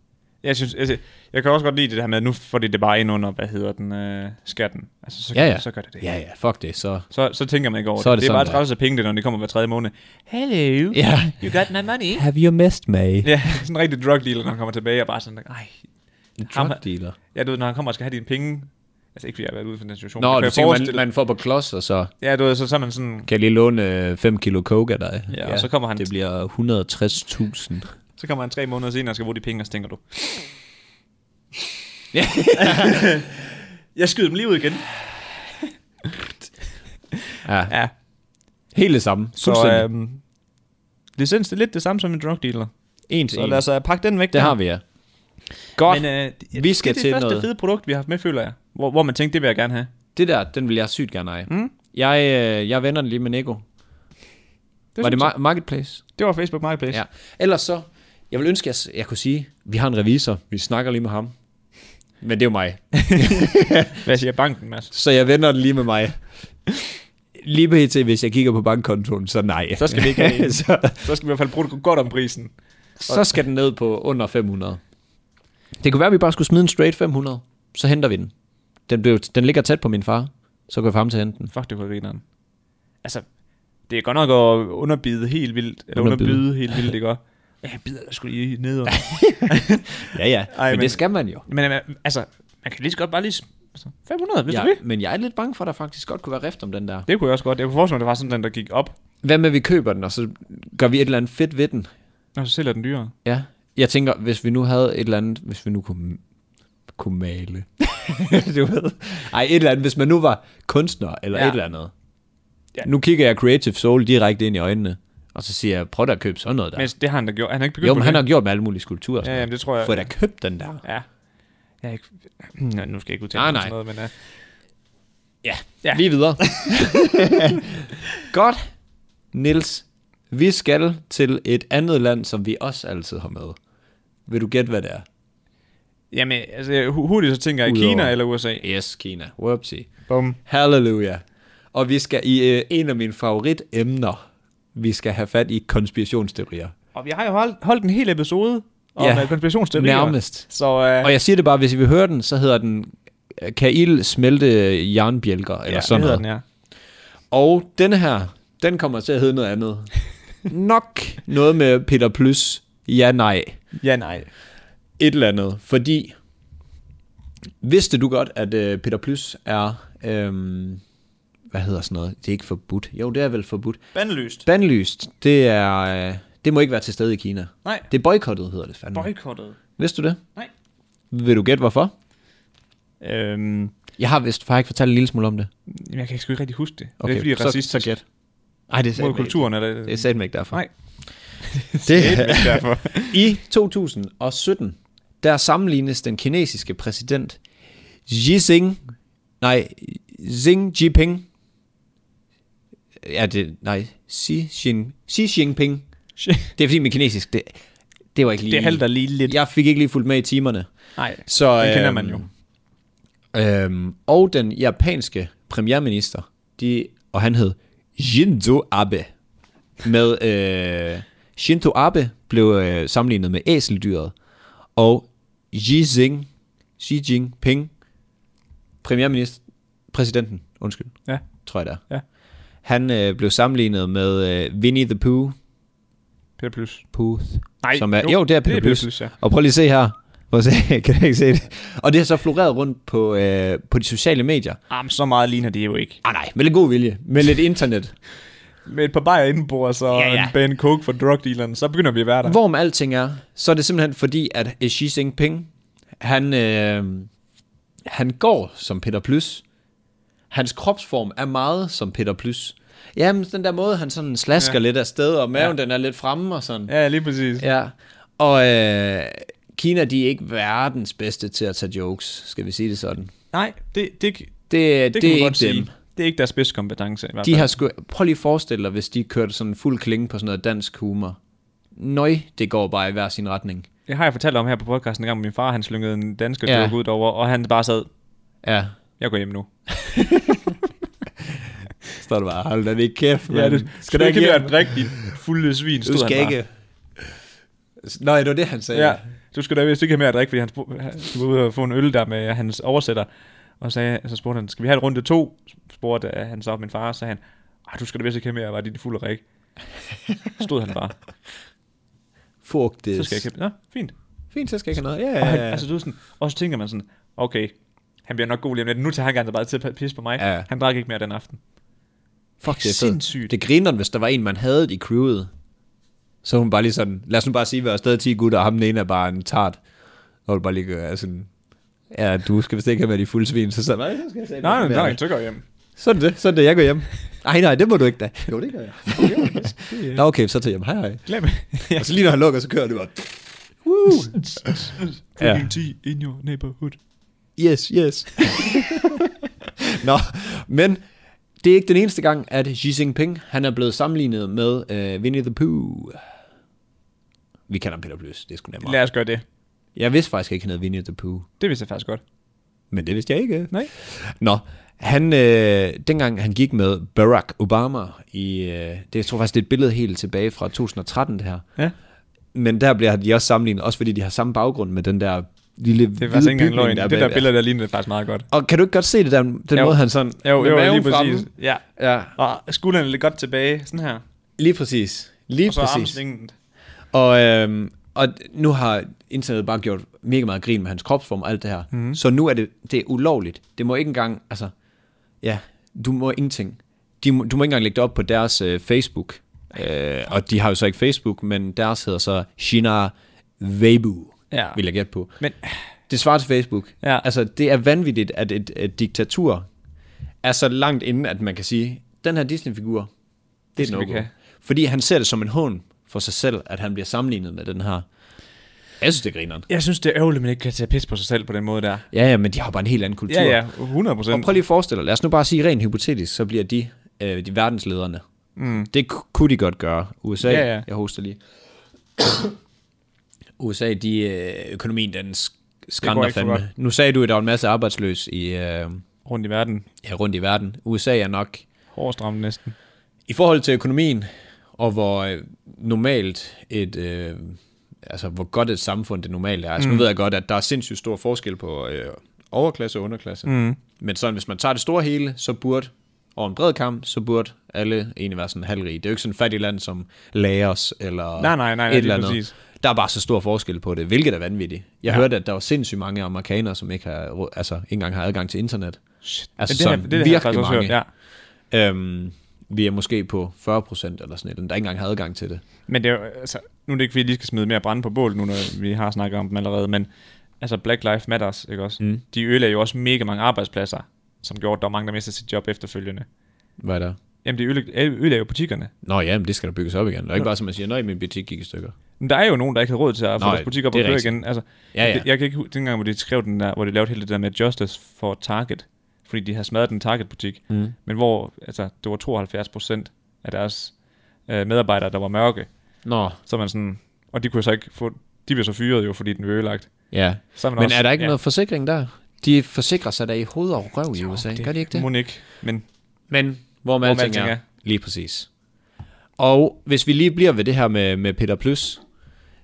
A: Jeg synes, altså, jeg kan også godt lide det her med, at nu får de det bare ind under, hvad hedder den, øh, skatten. Altså, så,
B: Ja, ja.
A: så gør det det.
B: Ja, ja, fuck det, så...
A: Så, så tænker man ikke over
B: Så er
A: det.
B: det
A: Det er
B: sådan,
A: bare
B: det er.
A: træls af penge, det, når det kommer hver tredje måned. Hello,
B: Ja.
A: you got my money.
B: Have you missed me?
A: ja, sådan en rigtig drug dealer, når han kommer tilbage, og bare sådan, ej, ham-
B: Drug dealer.
A: Ja, du ved, når han kommer og skal have dine penge. Altså ikke, fordi jeg har været ude for den situation.
B: Nå,
A: men
B: du
A: jeg
B: tænker, man,
A: forestille-
B: man får på klods, og så
A: Ja, du ved, så, så er man sådan...
B: kan jeg lige låne 5 kilo coke af dig.
A: Ja, og så kommer han-
B: Det bliver 160.000.
A: Så kommer han tre måneder senere og skal bruge de penge, og så tænker du...
B: Ja.
A: jeg skyder dem lige ud igen.
B: ja,
A: Ja,
B: helt det samme.
A: så...
B: Fuldstændig.
A: Øhm, licens det er lidt det samme som en drug dealer.
B: en til
A: Så
B: en.
A: lad os uh, pakke den væk.
B: Det
A: der.
B: har vi, ja. Godt.
A: Men,
B: Men,
A: øh, det,
B: vi skal
A: det er
B: til
A: det første
B: noget.
A: fede produkt, vi har haft med, føler jeg. Hvor, hvor man tænkte, det vil jeg gerne have.
B: det der, den vil jeg sygt gerne eje.
A: Mm.
B: Jeg, øh, jeg vender den lige med Nico.
A: Det
B: Var det
A: synes
B: ma- Marketplace?
A: jeg. det var Facebook Marketplace.
B: Ja. Ellers så, jeg vil ønske, at jeg, jeg kunne sige, vi har en revisor, vi snakker lige med ham. Men det er jo mig.
A: Hvad siger banken, Mads?
B: Så jeg vender den lige med mig. Lige på til, hvis jeg kigger på bankkontoen, så nej.
A: Så skal vi ikke have en.
B: så,
A: Så skal vi i hvert fald bruge det godt om prisen.
B: så skal den ned på under 500. Det kunne være, at vi bare skulle smide en straight 500. Så henter vi den. Den, blev, den ligger tæt på min far. Så går jeg frem til at hente den.
A: Fuck, det var grineren. Altså, det er godt nok at underbide helt vildt. Eller
B: Underbide.
A: underbyde, helt vildt, ikke også? Ja, jeg bider da sgu lige ned under.
B: Ja,
A: Ej,
B: ja. Ej, men,
A: men-
B: men, det skal man jo.
A: men øh, altså, man kan lige så godt bare lige... s- altså, 500, hvis ja.
B: Ja,
A: du vil.
B: men jeg er lidt bange for, at der faktisk godt kunne være rift om den der.
A: Det kunne jeg også godt. Jeg kunne forestille mig, at det var sådan den, der gik op,
B: Hvad med, at vi køber den, og så gør vi et eller andet fedt ved den?
A: og så sælger den dyrere.
B: Ja, jeg tænker, hvis vi nu havde et eller andet, hvis vi nu kunne, kunne male. du ved. Ej, et eller andet, hvis man nu var kunstner eller
A: Ja.
B: ja. et eller andet.
A: Ja.
B: Ja. Nu kigger jeg Creative Soul direkte ind i øjnene, og så siger jeg, prøv da at købe sådan noget der.
A: Men det har han da gjort. Han har ikke begyndt
B: jo,
A: på
B: men han
A: det.
B: har gjort med alle mulige skulpturer. og sådan
A: Ja, jamen, det tror jeg...
B: noget. Få da købt den der.
A: Ja. Jeg er ikke... Nå, nu skal jeg ikke udtale mig
B: Nej,
A: om
B: nej.
A: sådan noget, men... Uh...
B: Ja,
A: Ja.
B: ja. lige videre. Godt, Nils. Vi skal til et andet land, som vi også altid har med. Vil du gætte, hvad det er?
A: Jamen, altså, jeg- hu- hurtigt så tænker jeg
B: Udover-
A: Kina eller USA.
B: Yes, Kina. Whoopsie.
A: Bum.
B: Halleluja. Og vi skal i øh, en af mine favoritemner. Vi skal have fat i konspirationsteorier.
A: Og vi har jo holdt, holdt en hel episode om
B: Ja.
A: ja. konspirationsteorier.
B: Nærmest.
A: Så øh,
B: Og jeg siger det bare, hvis I vil høre den, så hedder den øh, Kan ild smelte jernbjælker? Eller
A: ja,
B: sådan
A: det hedder
B: noget.
A: den, ja.
B: Og denne her, den kommer til at hedde noget andet. Nok noget med Peter Plus. Ja, nej.
A: Ja, nej.
B: Et eller andet. Fordi, vidste du godt, at øh, Peter Plus er, øhm, hvad hedder sådan noget? Det er ikke forbudt. Jo, det er vel forbudt.
A: Bandelyst.
B: Bandlyst, det er, øh, det må ikke være til stede i Kina.
A: Nej.
B: Det er boykottet, hedder det
A: Mm.
B: fandme.
A: Boykottet.
B: vidste du det?
A: Nej.
B: Vil du gætte, hvorfor?
A: Øhm,
B: Jeg har vist faktisk fortalt en lille smule om det.
A: jamen, jeg kan sgu ikke rigtig huske det. Okay, det er fordi,
B: så,
A: racist
B: så gæt. Nej, det er
A: mod
B: satme ikke-
A: kulturen. Eller,
B: Det er satme ikke derfor.
A: Nej.
B: det er
A: ikke derfor.
B: I 2017, der sammenlignes den kinesiske præsident Xi Jinping, nej, Xi Jinping, ja det, nej, Xi, Jin, Xi Jinping, det er fordi min kinesisk, det, det var ikke lige,
A: det halter lige lidt.
B: jeg fik ikke lige fulgt med i timerne.
A: Nej,
B: Så,
A: den kender
B: øhm,
A: man jo.
B: Øhm, og den japanske premierminister, de, og han hed Shinzo Abe. Med øh, Shinzo Abe blev øh, sammenlignet med æseldyret, og Xi, Jing, Xi Jinping, premierminister, præsidenten, undskyld,
A: Ja.
B: tror jeg det er.
A: Ja.
B: Han øh, blev sammenlignet med øh, Winnie the Pooh,
A: Peter Plus.
B: Pooh
A: Nej,
B: som er, jo, jo det er Peter, Plys.
A: ja.
B: Og prøv lige at se her. Prøv at se, kan du ikke se det? Og det har så floreret rundt på, øh, på de sociale medier.
A: Jamen, så meget ligner det jo ikke.
B: Ah nej, med lidt god vilje. Med lidt internet.
A: Med et par bajer indenbord, og så
B: Ja,
A: ja,
B: ja.
A: ja. en bane coke for drugdealeren, så begynder vi at være der.
B: Hvorom alting er, så er det simpelthen fordi, at Xi Jinping, han, øh, han går som Peter Plys. Hans kropsform er meget som Peter Plys. Jamen, den der måde, han sådan slasker ja. lidt af sted, og maven ja. den er lidt fremme og sådan.
A: Ja, lige præcis.
B: Ja, og øh, Kina, de er ikke verdens bedste til at tage jokes, skal vi sige det sådan.
A: Nej, det, det, det,
B: Det, det,
A: det kan
B: det
A: man
B: er
A: godt
B: ikke
A: sige.
B: dem.
A: Det er ikke deres bedste kompetence i hvert fald.
B: De har sku... Prøv lige at forestille dig, hvis de kørte sådan en fuld klinge på sådan noget dansk humor. Nøj, det går bare i hver sin retning.
A: Det har jeg fortalt om her på podcasten en gang, hvor min far han slyngede en dansker
B: Ja.
A: ja. ud over, og han bare sad,
B: Ja,
A: jeg går hjem nu.
B: så står du bare, hold da ikke kæft,
A: Ja, det, skal du ikke være et rigtigt fulde svin, stod
B: Du skal
A: han bare.
B: ikke... øh, Nå, det var det, han sagde.
A: Ja, du skal da vist ikke have mere at drikke, fordi han spurgte, han var ude og få en øl der med hans oversætter. Og sagde, så spurgte han, skal vi have en runde to? Spurgte øh, han så min far, og sagde han, "Ah, du skal da vist ikke have mere, var det fulde rik. Stod han bare,
B: Fuck det.
A: så skal jeg ikke have, Nå, fint.
B: Fint, så skal jeg ikke have noget.
A: Og, han,
B: Ja, ja, ja.
A: altså, du ved sådan, og så tænker man sådan, okay, han bliver nok god lige om lidt. Nu tager han gerne bare til at pisse på mig.
B: Ja.
A: Han drak ikke mere den aften.
B: Fuck, det er
A: sindssygt.
B: fedt. Det griner, hvis der var en, man havde i crewet. Så hun bare lige sådan, lad os nu bare sige, at vi er stadig 10 gutter, og ham den ene er bare en tart. Og du bare lige gør sådan, ja, du skal vist ikke have med de fulde svin. Så sådan, nej, så skal jeg sige,
A: Nej, nej, nej, så går jeg hjem.
B: Sådan det, sådan det, jeg går hjem. Nej, nej, det må du ikke da. Jo, det gør jeg. Nå, okay, så til hjem. Hej, hej.
A: Glem
B: Og så lige når han lukker, så kører det bare. Ja.
A: Putting tea in your neighborhood.
B: Yes, yes. Nå, men det er ikke den eneste gang, at Xi Jinping, han er blevet sammenlignet med øh, Winnie the Pooh. Vi kalder ham Peter Plys, det skulle nemmere.
A: Lad os gøre det.
B: Jeg vidste faktisk ikke, han hed Winnie the Pooh,
A: Det vidste jeg faktisk godt.
B: men det vidste jeg ikke.
A: Nej.
B: Nå, han, øh, dengang han gik med Barack Obama i, øh, det jeg tror faktisk, det er et billede helt tilbage fra 2013 det her.
A: Ja.
B: Men der bliver de også sammenlignet, også fordi de har samme baggrund med den der lille
A: Det er faktisk ikke engang
B: bygning,
A: løgn.
B: er
A: det der
B: bag-
A: billede, der ligner det faktisk meget godt.
B: Og kan du ikke godt se det der, den
A: Jo.
B: måde, han sådan...
A: Jo,
B: med
A: jo,
B: maven
A: lige præcis.
B: fremme?
A: Ja.
B: Ja,
A: Og skuldrene lidt godt tilbage, sådan her.
B: lige præcis. Lige
A: Og så
B: præcis.
A: armslængden.
B: Og, øhm, og nu har internettet bare gjort mega meget grin med hans kropsform og alt det her.
A: Mhm.
B: Mm. Så nu er det, det er ulovligt. Det må ikke engang, altså, ja, du må ingenting. De, må- du må ikke engang lægge det op på deres øh, Facebook. Øh, og de har jo så ikke Facebook, men deres hedder så Shina Weibo,
A: Ja.
B: vil jeg gætte på.
A: Men
B: Det svarer til Facebook.
A: Ja.
B: Altså, det er vanvittigt, at et, et diktatur er så langt inde, at man kan sige, den her Disney-figur, det,
A: skal
B: er
A: vi
B: et
A: ikke
B: no
A: have.
B: Fordi han ser det som en hån for sig selv, at han bliver sammenlignet med den her. Jeg synes, det er grineren.
A: jeg synes, det er ærgerligt, at man ikke kan tage pis på sig selv på den måde der.
B: Ja, ja, men de har bare en helt anden kultur.
A: Ja, ja, 100
B: Og
A: procent.
B: prøv lige at forestille dig, lad os nu bare sige rent hypotetisk, så bliver de, øh, de verdenslederne. Mm. Det ku- kunne de godt gøre. USA,
A: Ja, ja.
B: jeg hoster lige. USA, de, øh, økonomien, den sk- skrænder
A: ikke så
B: fandme. Nu sagde du, at der var en masse arbejdsløs i, øh,
A: Rundt i verden.
B: ja, rundt i verden. USA er nok,
A: Hårdstramt næsten.
B: i forhold til økonomien, og hvor øh, normalt et... Øh, altså, hvor godt et samfund det normalt er. Altså, mm. nu ved jeg godt, at der er sindssygt stor forskel på øh, overklasse og underklasse. Mm. Men sådan, hvis man tager det store hele, så burde over en bred kamp, så burde alle egentlig være sådan halvrige. Det er jo ikke sådan et fattigt land som Laos
A: Nej,
B: eller
A: nej, nej, nej,
B: et
A: lige
B: eller andet.
A: præcis.
B: Der er bare så stor forskel på det, hvilket er vanvittigt. Jeg
A: Ja.
B: ja. hørte, at der var sindssygt mange amerikanere, som ikke, har, råd- altså, ikke engang har adgang til internet.
A: Shit.
B: Altså,
A: har-
B: sådan
A: har jeg faktisk
B: virkelig
A: også hørt,
B: mange.
A: ja.
B: Øhm, vi er måske på 40% eller sådan et, der ikke engang har adgang til det.
A: Men det er jo, altså, nu er det ikke, fordi jeg lige skal smide mere brænde på bålet, nu når vi har snakket om dem allerede, men altså Black Lives Matters, ikke også? Mm. De ødelagde jo også mega mange arbejdspladser, som gjorde, at der var mange, der mistede sit job efterfølgende.
B: Hvad er der?
A: Jamen, det ødelag- ødelagde jo butikkerne.
B: Nå ja, men det skal der bygges op igen. Det er ikke bare, som man siger, nej, min butik gik i stykker.
A: Men der er jo nogen, der ikke havde råd til at få
B: Nå,
A: deres butik op
B: det
A: og
B: er
A: køre
B: rigtigt.
A: igen. Altså,
B: Ja, ja.
A: Jeg, jeg kan ikke huske dengang, hvor de skrev den der, hvor de lavede hele det der med Justice for Target, fordi de havde smadret den Target-butik, mm. men hvor altså, det var 72 procent af deres øh, medarbejdere, der var mørke.
B: Nå,
A: Så er man sådan, og de kunne så ikke få, de blev så fyret jo, fordi den blev ødelagt.
B: ja.
A: Så man
B: Men
A: også-
B: er der ikke
A: ja.
B: ja. noget forsikring der? De forsikrer sig da i hoved og røv i USA, gør de ikke det?
A: Må ikke, men
B: Men hvor med alting
A: alting
B: er.
A: er.
B: Lige præcis. Og hvis vi lige bliver ved det her med, med Peter Plus,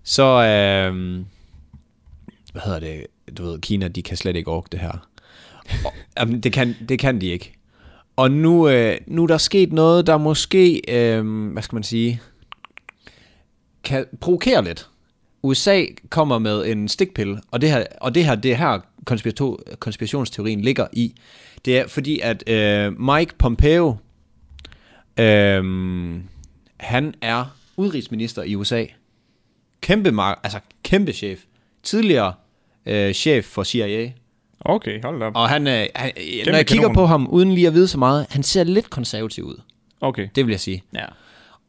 B: så øh, hvad hedder det, du ved, Kina, de kan slet ikke orke det her. Og, jamen, det, kan, det kan de ikke. Og nu, øh, nu er der sket noget, der måske, øh, hvad skal man sige, kan provokere lidt. USA kommer med en stikpille, og det her, og det her, det er her konspirato- konspirationsteorien ligger i. Det er fordi, at øh, Mike Pompeo, øh, han er udenrigsminister i USA. Kæmpe, mar- altså kæmpe chef. Tidligere øh, chef for CIA.
A: okay, hold da op.
B: Og han, øh, han, når jeg kigger
A: kanon.
B: på ham, uden lige at vide så meget, han ser lidt konservativ ud.
A: Okay.
B: Det vil jeg sige.
A: Ja.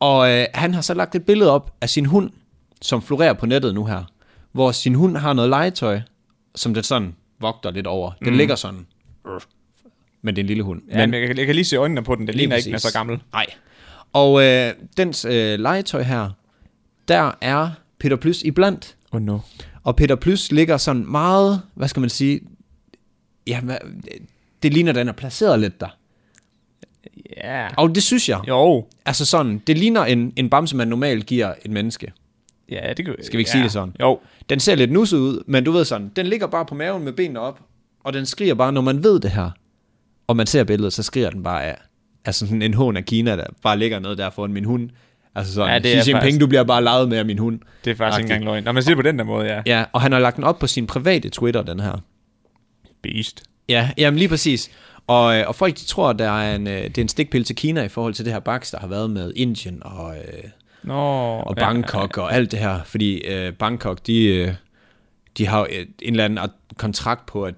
B: Og øh, han har så lagt et billede op af sin hund, som florerer på nettet nu her. Hvor sin hund har noget legetøj, som den sådan vogter lidt over. Den mm. ligger sådan. øh, Men det er en lille hund.
A: ja men jeg, kan- jeg kan lige se øjnene på den, det ligner ikke, den er så gammel.
B: Nej. Og øh, dens øh, legetøj her, der er Peter Plys iblandt.
A: Oh no.
B: Og Peter Plys ligger sådan meget, hvad skal man sige, ja, hvad, det ligner, den er placeret lidt der.
A: Ja. Yeah.
B: Og det synes jeg. Jo.
A: Jo.
B: Altså sådan, det ligner en, en bamse, man normalt giver et menneske.
A: Ja, det kan,
B: Skal vi ikke
A: ja.
B: sige det sådan?
A: Jo.
B: Den ser lidt nusset ud, men du ved sådan, den ligger bare på maven med benene op, og den skriger bare, når man ved det her, og man ser billedet, så skriger den bare af. Altså sådan en hån af Kina, der bare ligger ned der foran min hund. Altså sådan,
A: Ja,
B: ja,
A: det er
B: det Xi Jinping,
A: faktisk-
B: du bliver bare leget med af min hund.
A: Det er faktisk ikke
B: Agtigt.
A: engang løgn. Når man siger det på den der måde, ja.
B: Ja, og han har lagt den op på sin private Twitter, den her.
A: Beast.
B: Ja, jamen lige præcis. Og, øh, og folk de tror, at der er en, øh, det er en stikpille til Kina i forhold til det her baks, der har været med Indien og, øh,
A: Nå.
B: og
A: ja.
B: Bangkok og alt det her. Fordi øh, Bangkok, de, øh, de har jo et, en eller anden art- kontrakt på, at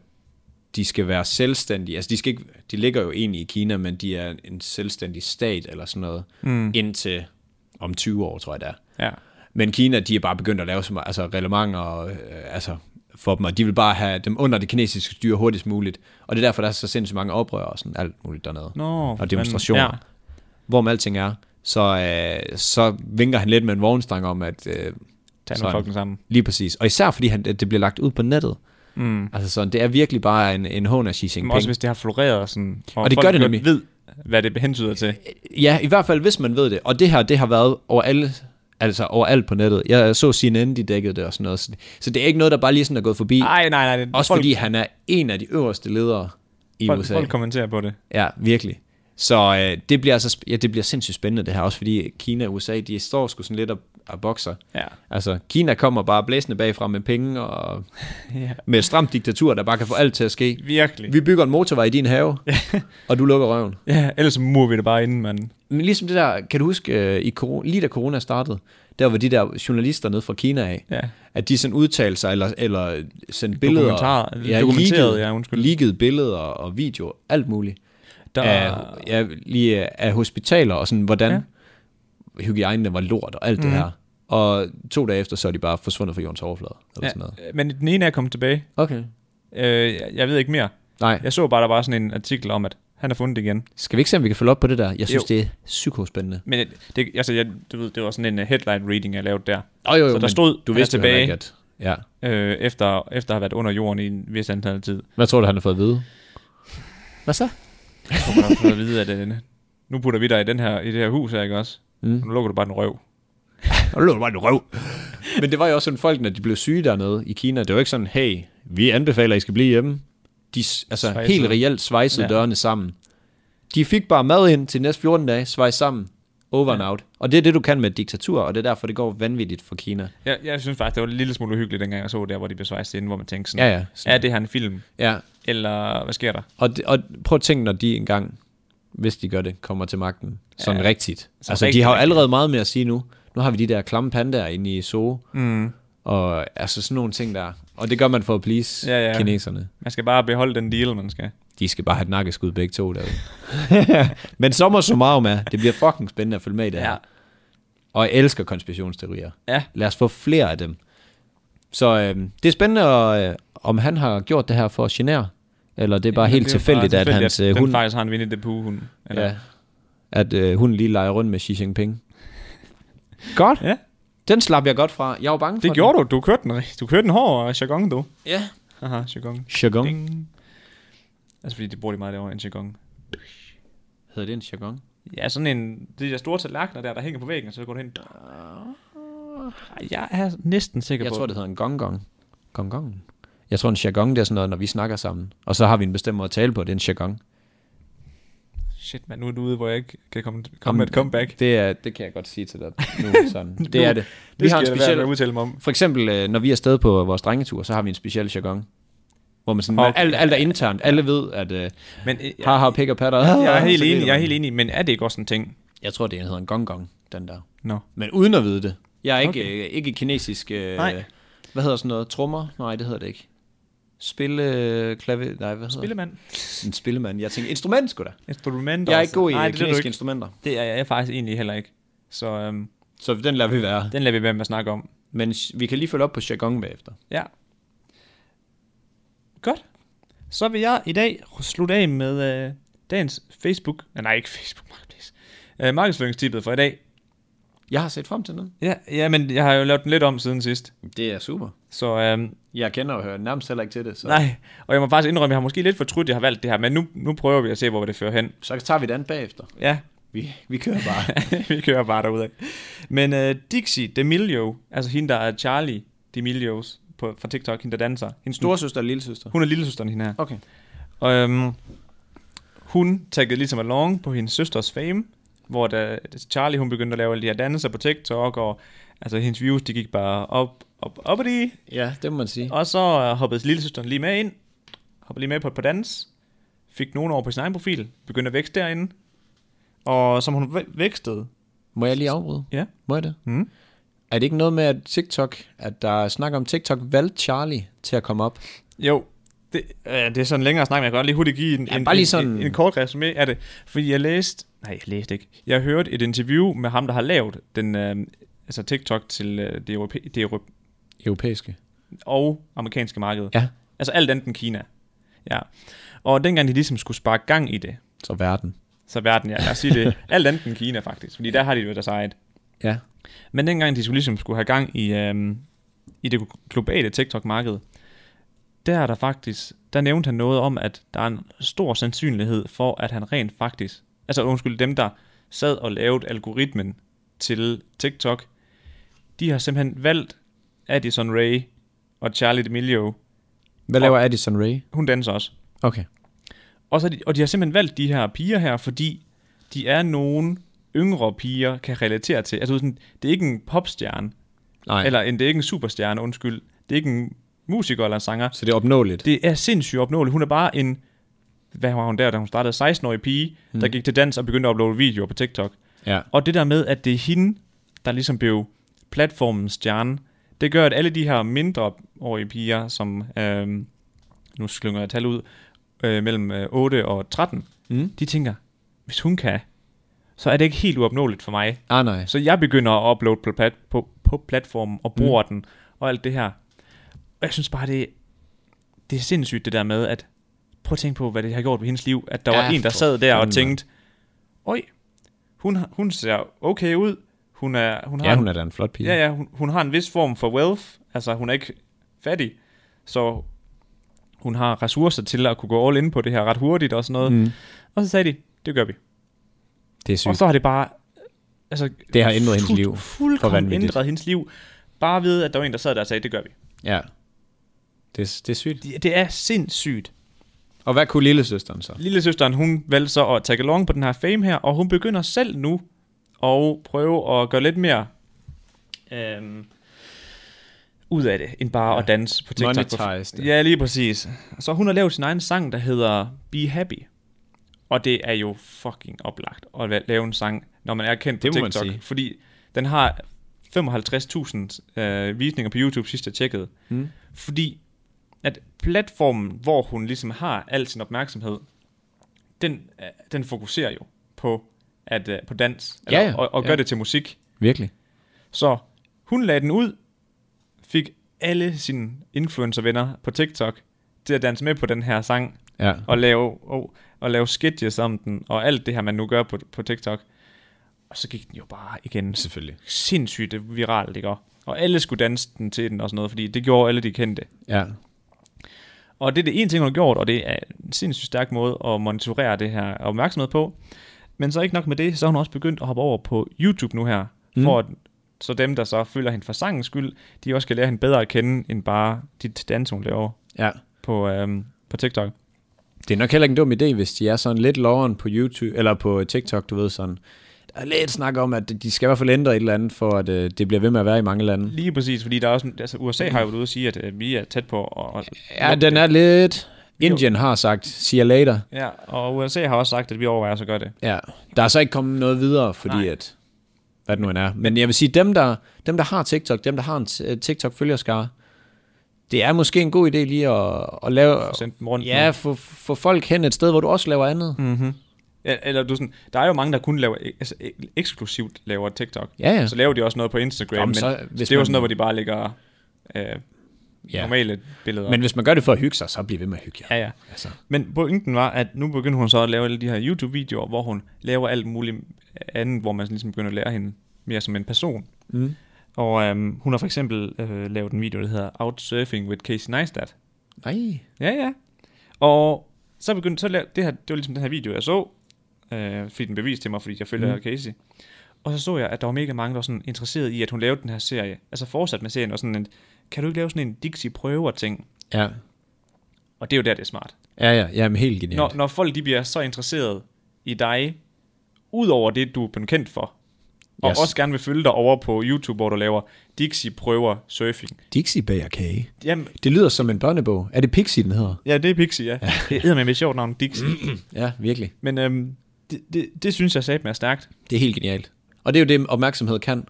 B: de skal være selvstændige. Altså, de, skal ikke, de ligger jo egentlig i Kina, men de er en selvstændig stat eller sådan noget, mm. indtil om 20 år, tror jeg det er.
A: Ja.
B: Men Kina, de er bare begyndt at lave så meget, altså reglementer og, øh, altså, for dem, og de vil bare have dem under det kinesiske styre hurtigst muligt. Og det er derfor, der er så sindssygt mange oprør og sådan alt muligt dernede.
A: Nå,
B: og demonstrationer.
A: men-
B: Men, ja. Hvorom alting er, så, øh, så vinker han lidt med en vognstang om, at... Øh,
A: Tag nu
B: sådan.
A: fucking sammen.
B: Lige præcis. Og især fordi han, det bliver lagt ud på nettet.
A: Mm.
B: Altså sådan, det er virkelig bare en, en hån af Xi
A: Men
B: Jinping.
A: også hvis det har floreret sådan,
B: Og det
A: folk
B: gør det
A: godt
B: nemlig.
A: ved, hvad det hentyder til.
B: Ja, i hvert fald hvis man ved det. Og det her, det har været over alle, altså overalt på nettet. Jeg så CNN, de dækkede det og sådan noget. Så det, så det er ikke noget, der bare lige sådan er gået forbi.
A: Nej, nej, nej. Det,
B: Også
A: folk,
B: fordi han er en af de øverste ledere i
A: folk,
B: USA.
A: folk kommenterer på det.
B: Ja, virkelig. Så øh, det bliver altså sp- ja, det bliver sindssygt spændende det her, også fordi Kina og USA, de står sgu sådan lidt og, og bokser.
A: Ja.
B: Altså, Kina kommer bare blæsende bagfra med penge og
A: ja.
B: med et stramt diktatur, der bare kan få alt til at ske.
A: Virkelig.
B: Vi bygger en motorvej i din have, og du lukker røven.
A: Ja, ellers murer vi det bare inden, mand.
B: Men ligesom det der, kan du huske, øh, i corona, lige da corona startede, der var de der journalister nede fra Kina af,
A: Ja.
B: at de sådan udtalte sig, eller, eller sendte billeder.
A: Dokumentarer- dokumenterede,
B: leakede-
A: ja, undskyld.
B: Leakede billeder og video, alt muligt.
A: Der,
B: Af, ja, lige øh, af hospitaler og sådan, hvordan ja. hygiejnen var lort og alt mm. det her. Og to dage efter, så er de bare forsvundet fra jordens overflade, eller ja. sådan noget.
A: ja, men den ene er kommet tilbage.
B: Okay.
A: Øh, jeg, jeg ved ikke mere.
B: Nej,
A: Jeg så bare, der var sådan en artikel om, at han har fundet det igen.
B: skal vi ikke se, om vi kan følge op på det der? Jeg synes,
A: Jo.
B: jo. det er psykospændende.
A: Men det, altså, jeg, du ved, det var sådan en øh, headline reading, jeg lavede der.
B: Oh, jo,
A: Så der
B: men
A: stod,
B: du
A: han er
B: vidste jo heller
A: tilbage.
B: ikke, at, ja.
A: Øh, efter, efter at have været under jorden i en vis antal tid.
B: Hvad tror du, han har fået at vide? Hvad så?
A: Jeg tror, man har fået at vide, at øh, nu putter vi dig i, den her, i det her hus her, ikke også? Mm. Nu lukker du bare den røv.
B: Og det var en røv. Men det var jo også sådan, folk, når de blev syge dernede i Kina, det var ikke sådan, hey, vi anbefaler, I skal blive hjemme. De s- altså,
A: Svejsede.
B: helt reelt svejsede
A: Ja.
B: ja. dørene sammen. De fik bare mad ind til næste 14 dage, svejs sammen, over and out. Og det er det, du kan med et diktatur, og det er derfor, det går vanvittigt for Kina.
A: Jeg, jeg synes faktisk, det var en lille smule uhyggeligt, dengang jeg så der, hvor de blev svejset ind, hvor man tænkte sådan,
B: Ja, ja.
A: er det her en film,
B: Ja,
A: eller hvad sker der?
B: og, det, og prøv at tænke, når de engang, hvis de gør det, kommer til magten, sådan ja. rigtigt.
A: Så
B: altså,
A: rigtig,
B: de har jo
A: rigtig.
B: allerede meget mere at sige nu. Nu har vi de der klamme pandaer inde i zoo, mm. og altså sådan nogle ting der. Og det gør man for at please
A: Ja,
B: ja,
A: ja.
B: ja. kineserne.
A: Man skal bare beholde den deal, man skal.
B: De skal bare have et nakkeskud begge to derude. Men sommer summarum er, det bliver fucking spændende at følge med i det her.
A: Ja.
B: Og jeg elsker konspirationsteorier.
A: Ja.
B: Lad os få flere af dem. Så øh, det er spændende, og, øh, om han har gjort det her for at genere, eller det er bare
A: Men
B: helt
A: det er jo
B: tilfældigt,
A: bare
B: at hans
A: at
B: øh,
A: den
B: hund,
A: faktisk har en Winnie the Pooh-hund. Eller?
B: ja, at, øh, hun lige leger rundt med Xi Jinping. Godt.
A: Ja.
B: Den slap jeg godt fra. Jeg var bange for
A: Det gjorde du. Du kørte den, ri- du kørte den hård og jargon, du.
B: den. Ja.
A: Haha, jargon.
B: Jargon.
A: Ding. Altså, fordi det bruger de meget derovre, en jargon.
B: Hedder det en jargon?
A: Ja, sådan en, de der store tallerkener der, der hænger på væggen, og så går du hen. Ej, Ah, Jeg er næsten sikker
B: Jeg
A: på
B: tror, det hedder en gongong. Gongong. Jeg tror, en jargon, det er sådan noget, når vi snakker sammen. Og så har vi en bestemt måde at tale på, det er en jargon.
A: Shit, man, nu er du ude, hvor jeg ikke kan komme, komme med et comeback.
B: Det, er, det kan jeg godt sige til dig nu. Sådan. Det er det. Vi
A: Det
B: har
A: skal
B: en
A: jeg da være med at
B: speciel...
A: udtale mig om.
B: For eksempel, øh, når vi er afsted på vores drengetur, så har vi en speciel jargon. Hvor man sådan,
A: Okay.
B: okay. alt, alt er internt. Alle ved, at øh,
A: Men øh, jeg,
B: haha, pik og patter.
A: jeg, er helt
B: Så
A: enig,
B: det-
A: Ah, jeg er helt enig, men er det ikke også en ting?
B: Jeg tror, det hedder en gongong, den der.
A: Nå.
B: Men uden at vide det. Jeg er ikke, okay. øh, ikke kinesisk... Øh,
A: Nej.
B: Hvad hedder sådan noget? Trummer? Nej, det hedder det ikke. Spille... Øh, klave... Nej, hvad hedder det?
A: Spillemand.
B: En spillemand. Jeg tænker, instrument sgu da.
A: Instrumenter.
B: Jeg er ikke
A: altså.
B: god i
A: Nej,
B: øh,
A: det, er du
B: kinesiske
A: ikke.
B: instrumenter.
A: det er jeg faktisk egentlig heller ikke. Så øhm,
B: Så den lader vi være.
A: den lader vi være med at snakke om.
B: Men sh- vi kan lige følge op på jargon bagefter.
A: Ja. Godt. Så vil jeg i dag slutte af med øh, dagens Facebook... Nej, nej, ikke Facebook Marketplace. Øh, markedsføringstippet for i dag.
B: Jeg har set frem til noget.
A: Ja, ja, men jeg har jo lavet den lidt om siden sidst.
B: Det er super.
A: Så øhm,
B: Jeg kender og hører nærmest heller ikke til det, så,
A: nej, og jeg må faktisk indrømme, at jeg har måske lidt fortrudt, at jeg har valgt det her, men nu, nu prøver vi at se, hvor det fører hen.
B: så tager vi det andet bagefter.
A: Ja,
B: Vi, vi kører bare.
A: vi kører bare derudad. Men øh, Dixie D'Amelio, altså hende, der er Charlie D'Amelios på, fra TikTok, hende, der danser. Hende store,
B: Storsøster og lillesøster.
A: hun er lillesøsteren, hende her.
B: Okay.
A: Og øhm, hun taggede ligesom along på hendes søsters fame, hvor da Charlie hun begyndte at lave alle de her danser på TikTok, og altså hendes views, de gik bare op, op, op og de.
B: Ja, det må man sige.
A: Og så øh, hoppede lillesøsteren lige med ind, hoppede lige med på et par dans, fik nogen over på sin egen profil, begyndte at vækste derinde. Og som hun væ- vækstede,
B: Må jeg lige afbryde?
A: ja,
B: Må jeg det?
A: Mm.
B: Er det ikke noget med, at TikTok, at der er snak om TikTok, valgte Charlie til at komme op?
A: Jo, det, øh, det er sådan længere snak, men jeg kan godt lige hurtigt give en,
B: Ja,
A: en,
B: bare lige
A: en-
B: sådan-
A: en, en kort resumé af det. Fordi jeg læste, nej jeg læste ikke, jeg hørte et interview med ham, der har lavet den, øh, altså TikTok til øh, det, europæ, det europæ,
B: Europæiske.
A: og amerikanske marked.
B: Ja.
A: Altså alt andet end Kina. Ja. Og dengang de ligesom skulle sparke gang i det,
B: Så verden.
A: så verden, ja, lad os sige det, alt andet end Kina faktisk, fordi der har de jo deres eget.
B: Ja.
A: Men dengang de skulle ligesom skulle have gang i, øhm, i det globale TikTok-marked, der er der faktisk, der nævnte han noget om, at der er en stor sandsynlighed for, at han rent faktisk, altså undskyld, dem der sad og lavede algoritmen til TikTok, de har simpelthen valgt Addison Ray og Charlie D'Amelio,
B: Hvad laver Addison Ray?
A: hun danser også,
B: Okay.
A: og, så er de, og de har simpelthen valgt de her piger her, fordi de er nogle yngre piger kan relatere til. Altså sådan, det er ikke en popstjerne,
B: Nej,
A: eller en, det er ikke en superstjerne, undskyld. Det er ikke en musiker eller en sanger.
B: så det er opnåeligt.
A: Det er sindssygt opnåeligt. Hun er bare en, hvad var hun der, da hun startede, 16-årig pige, mm. der gik til dans og begyndte at uploade videoer på TikTok.
B: Ja.
A: Og det der med, at det er hende, der ligesom blev platformens stjerne, det gør, at alle de her mindreårige piger, som, øhm, nu slynger jeg tal ud, øh, mellem øh, 8 og 13, mm. de tænker, hvis hun kan, så er det ikke helt uopnåeligt for mig.
B: Ah, nej.
A: Så jeg begynder at uploade på, plat, på, på platformen og bruger mm. den og alt det her. Og jeg synes bare, det, det er sindssygt det der med, at prøv at tænke på, hvad det har gjort ved hendes liv. At der
B: Ja,
A: var en, der
B: for
A: sad der og
B: fanden,
A: tænkte, Øj, hun, har- hun ser okay ud. Hun er, hun har,
B: Ja, hun er da en flot pige.
A: ja, ja hun, hun har en vis form for wealth. Altså, hun er ikke fattig. Så hun har ressourcer til at kunne gå all in på det her ret hurtigt og sådan noget. Mm. Og så sagde de, det gør vi.
B: Det er
A: Og
B: sygt.
A: så har det bare altså,
B: Det har ændret hendes
A: fuld-
B: liv. For
A: Fuldkommen
B: vanvittigt.
A: ændret hendes liv. Bare ved, at der var en, der sad der og sagde, det gør vi.
B: Ja. Det, det er sygt.
A: Det, det er sindssygt.
B: Og hvad kunne lillesøsteren så?
A: Lillesøsteren, hun valgte så at tage along på den her fame her, og hun begynder selv nu at prøve at gøre lidt mere øhm, ud af det, end bare ja. at danse på TikTok.
B: Monetize det.
A: Ja, lige præcis. Så hun har lavet sin egen sang, der hedder Be Happy. Og det er jo fucking oplagt at la- lave en sang, når man er kendt
B: Det
A: på
B: må man
A: TikTok.
B: sige.
A: Fordi den har 55.000 øh, visninger på YouTube sidst jeg tjekkede.
B: Mm.
A: Fordi at platformen, hvor hun ligesom har al sin opmærksomhed, den, øh, den fokuserer jo på, at, øh, på dans.
B: Ja, ja.
A: og, og gør
B: Ja.
A: det til musik.
B: Virkelig.
A: Så hun lagde den ud, fik alle sine influencervenner på TikTok til at danse med på den her sang,
B: Ja.
A: og lave, og, og lave sketches om den, og alt det her, man nu gør på, på TikTok. Og så gik den jo bare igen
B: Selvfølgelig.
A: sindssygt viralt, ikke? Og- Og alle skulle danse den til den og sådan noget, fordi det gjorde alle de kendte.
B: Ja.
A: Og det er det ene ting, hun har gjort, og det er en sindssygt stærk måde at monitorere det her opmærksomhed på. Men så ikke nok med det, så har hun også begyndt at hoppe over på YouTube nu her, mm. for at så dem, der så følger hende for sangens skyld, de også kan lære hende bedre at kende, end bare de danser, hun laver
B: Ja.
A: på, øhm, på TikTok.
B: Det er nok heller ikke en dum idé, hvis de er sådan lidt loveren på YouTube, eller på TikTok, du ved sådan. Der er lidt snak om, at de skal i hvert fald ændre et eller andet, for at øh, det bliver ved med at være i mange lande.
A: Lige præcis, fordi der er også, altså USA har jo været ude og sige, at øh, vi er tæt på. Og, og,
B: Ja, den er lidt... Indien har sagt, see you later.
A: ja, og USA har også sagt, at vi overvejer så gør det.
B: Ja, der er så ikke kommet noget videre, fordi
A: Nej.
B: Nej. at, hvad det nu end er. Men jeg vil sige, dem der, dem der har TikTok, dem der har en t- øh, TikTok-følgerskare, det er måske en god idé lige at, at lave...
A: Sendt dem rundt.
B: Ja, få, få folk hen et sted, hvor du også laver andet. Mm.
A: Ja, eller du er sådan, der er jo mange, der kun laver, altså, ek- eksklusivt laver TikTok.
B: Ja, ja.
A: Så laver de også noget på Instagram,
B: Jamen,
A: men
B: så-
A: så,
B: hvis
A: det er jo
B: man-
A: sådan noget, hvor de bare lægger øh, ja. normale billeder.
B: Men hvis man gør det for at hygge sig, så bliver ved med at hygge jer.
A: ja, ja.
B: Altså.
A: Men pointen var, at nu begynder hun så at lave alle de her YouTube-videoer, hvor hun laver alt muligt andet, hvor man sådan ligesom begynder at lære hende mere som en person.
B: Mm.
A: Og øhm, hun har for eksempel øh, lavet en video, der hedder Outsurfing with Casey Neistat.
B: Nej.
A: Ja, ja. Og så begyndte så lavede, det her, det var ligesom den her video, jeg så, øh, fordi den bevis til mig, fordi jeg følger mm. Casey. Og så så jeg, at der var mega mange, der var sådan interesseret i, at hun lavede den her serie. Altså fortsat med serien, og sådan en, kan du ikke lave sådan en Dixie-prøver-ting?
B: Ja,
A: Og det er jo der, det er smart.
B: ja, ja. Jamen, helt genialt.
A: Når, når folk de bliver så interesseret i dig, ud over det, du er blevet kendt for, og
B: Yes.
A: yes. også gerne vil følge dig over på YouTube, hvor du laver Dixie-prøver-surfing.
B: Dixie bager kage.
A: Jamen,
B: Det lyder som en børnebog. Er det Pixie, den hedder?
A: ja, det er Pixie, ja. Det er med et sjovt navn, Dixie.
B: Ja, virkelig.
A: Men øhm, det, det, det, synes jeg sagde er stærkt.
B: Det er helt genialt. Og det er jo det, opmærksomhed kan.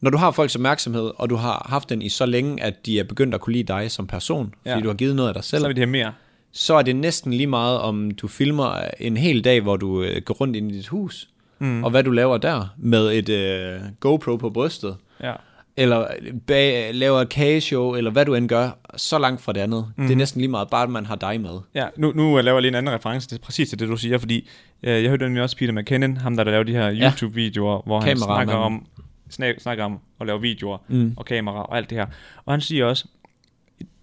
B: Når du har folks opmærksomhed, og du har haft den i så længe, at de er begyndt at kunne lide dig som person, fordi
A: Ja.
B: du har givet noget af dig selv,
A: Så vil de have mere.
B: så er det næsten lige meget, om du filmer en hel dag, hvor du øh, går rundt ind i dit hus, mm. og hvad du laver der med et øh, GoPro på brystet,
A: Ja.
B: eller bag, laver et kageshow, eller hvad du end gør, så langt fra det andet. Mm. Det er
A: Mhm.
B: næsten lige meget, bare at man har dig med.
A: Ja, nu, nu laver jeg lige en anden reference til præcis til det, du siger, fordi øh, jeg hørte nemlig også Peter McKinnon, ham der, der laver de her YouTube-videoer, hvor han
B: Kameramanden.
A: snakker om, snak, snakker om at lave videoer mm. og kamera og alt det her. Og han siger også,